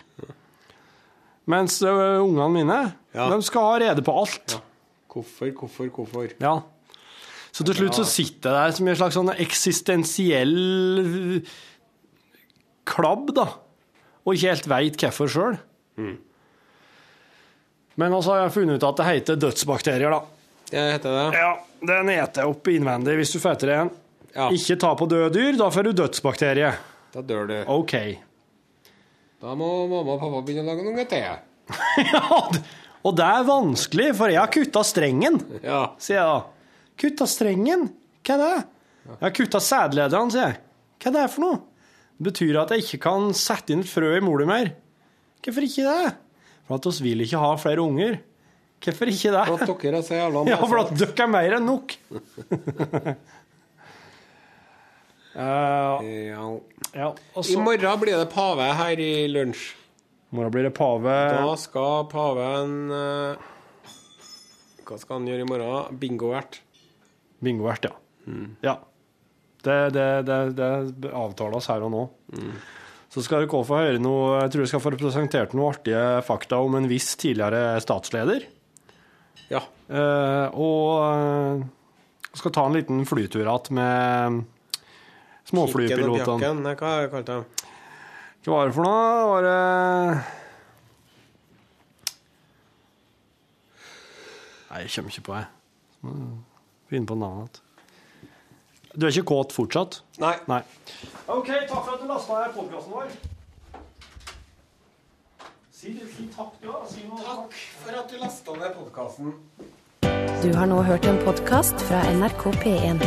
[SPEAKER 3] Mens ø, ungene mine,
[SPEAKER 10] Ja.
[SPEAKER 3] de skal ha rede på alt.
[SPEAKER 10] Hvorfor, hvorfor, hvorfor?
[SPEAKER 3] Ja. Så til slutt så sitter jeg der som en slags sånn eksistensiell ø, klabb, da. Og ikke helt veit hvorfor sjøl. Mm. Men også har jeg funnet ut at det heter dødsbakterier, da.
[SPEAKER 10] Det heter det.
[SPEAKER 3] Ja, den eter opp innvendig hvis du fetter den.
[SPEAKER 10] Ja.
[SPEAKER 3] Ikke ta på døde dyr, da får du dødsbakterie.
[SPEAKER 10] Da dør du.
[SPEAKER 3] OK.
[SPEAKER 10] Da må mamma og pappa begynne å lage noe te.
[SPEAKER 3] Og det er vanskelig, for jeg har kutta strengen,
[SPEAKER 10] Ja.
[SPEAKER 3] sier jeg da. Kutta strengen? Hva er det? Jeg har kutta sædlederen, sier jeg. Hva er det for noe? Det betyr at jeg ikke kan sette inn et frø i mola mer. Hvorfor ikke det? For at oss vil ikke ha flere unger. Hvorfor ikke det?
[SPEAKER 10] For at dere er så jævla
[SPEAKER 3] Ja, for
[SPEAKER 10] maser.
[SPEAKER 3] at dere er mer enn nok. Eh,
[SPEAKER 10] Ja.
[SPEAKER 3] ja, og
[SPEAKER 10] I
[SPEAKER 3] så
[SPEAKER 10] morgen blir det pave her i lunsj.
[SPEAKER 3] morgen blir det pave.
[SPEAKER 10] Da skal paven eh, Hva skal han gjøre i morgen? Bingoert. Mm.
[SPEAKER 3] Bingovert, ja. ja. Det, det, det, det avtales her og nå.
[SPEAKER 10] Mm.
[SPEAKER 3] Så skal dere få høre noe Jeg tror jeg skal få presentert noen artige fakta om en viss tidligere statsleder.
[SPEAKER 10] Ja.
[SPEAKER 3] Eh, og eh, skal ta en liten flytur igjen med
[SPEAKER 10] Kikken og
[SPEAKER 3] småflypilotene.
[SPEAKER 10] Bjakken, nei, hva har jeg kalt dem?
[SPEAKER 3] Hva var det for noe? Var det Nei, jeg kommer ikke på det. Mm. Finne på navnet. Du er ikke kåt fortsatt?
[SPEAKER 10] Nei.
[SPEAKER 3] Nei. OK, takk for at du lasta ned podkasten vår. Si, takk, du, da. Si noe. Takk.
[SPEAKER 10] For at du lasta ned podkasten.
[SPEAKER 1] Du har nå hørt en podkast fra NRK P1.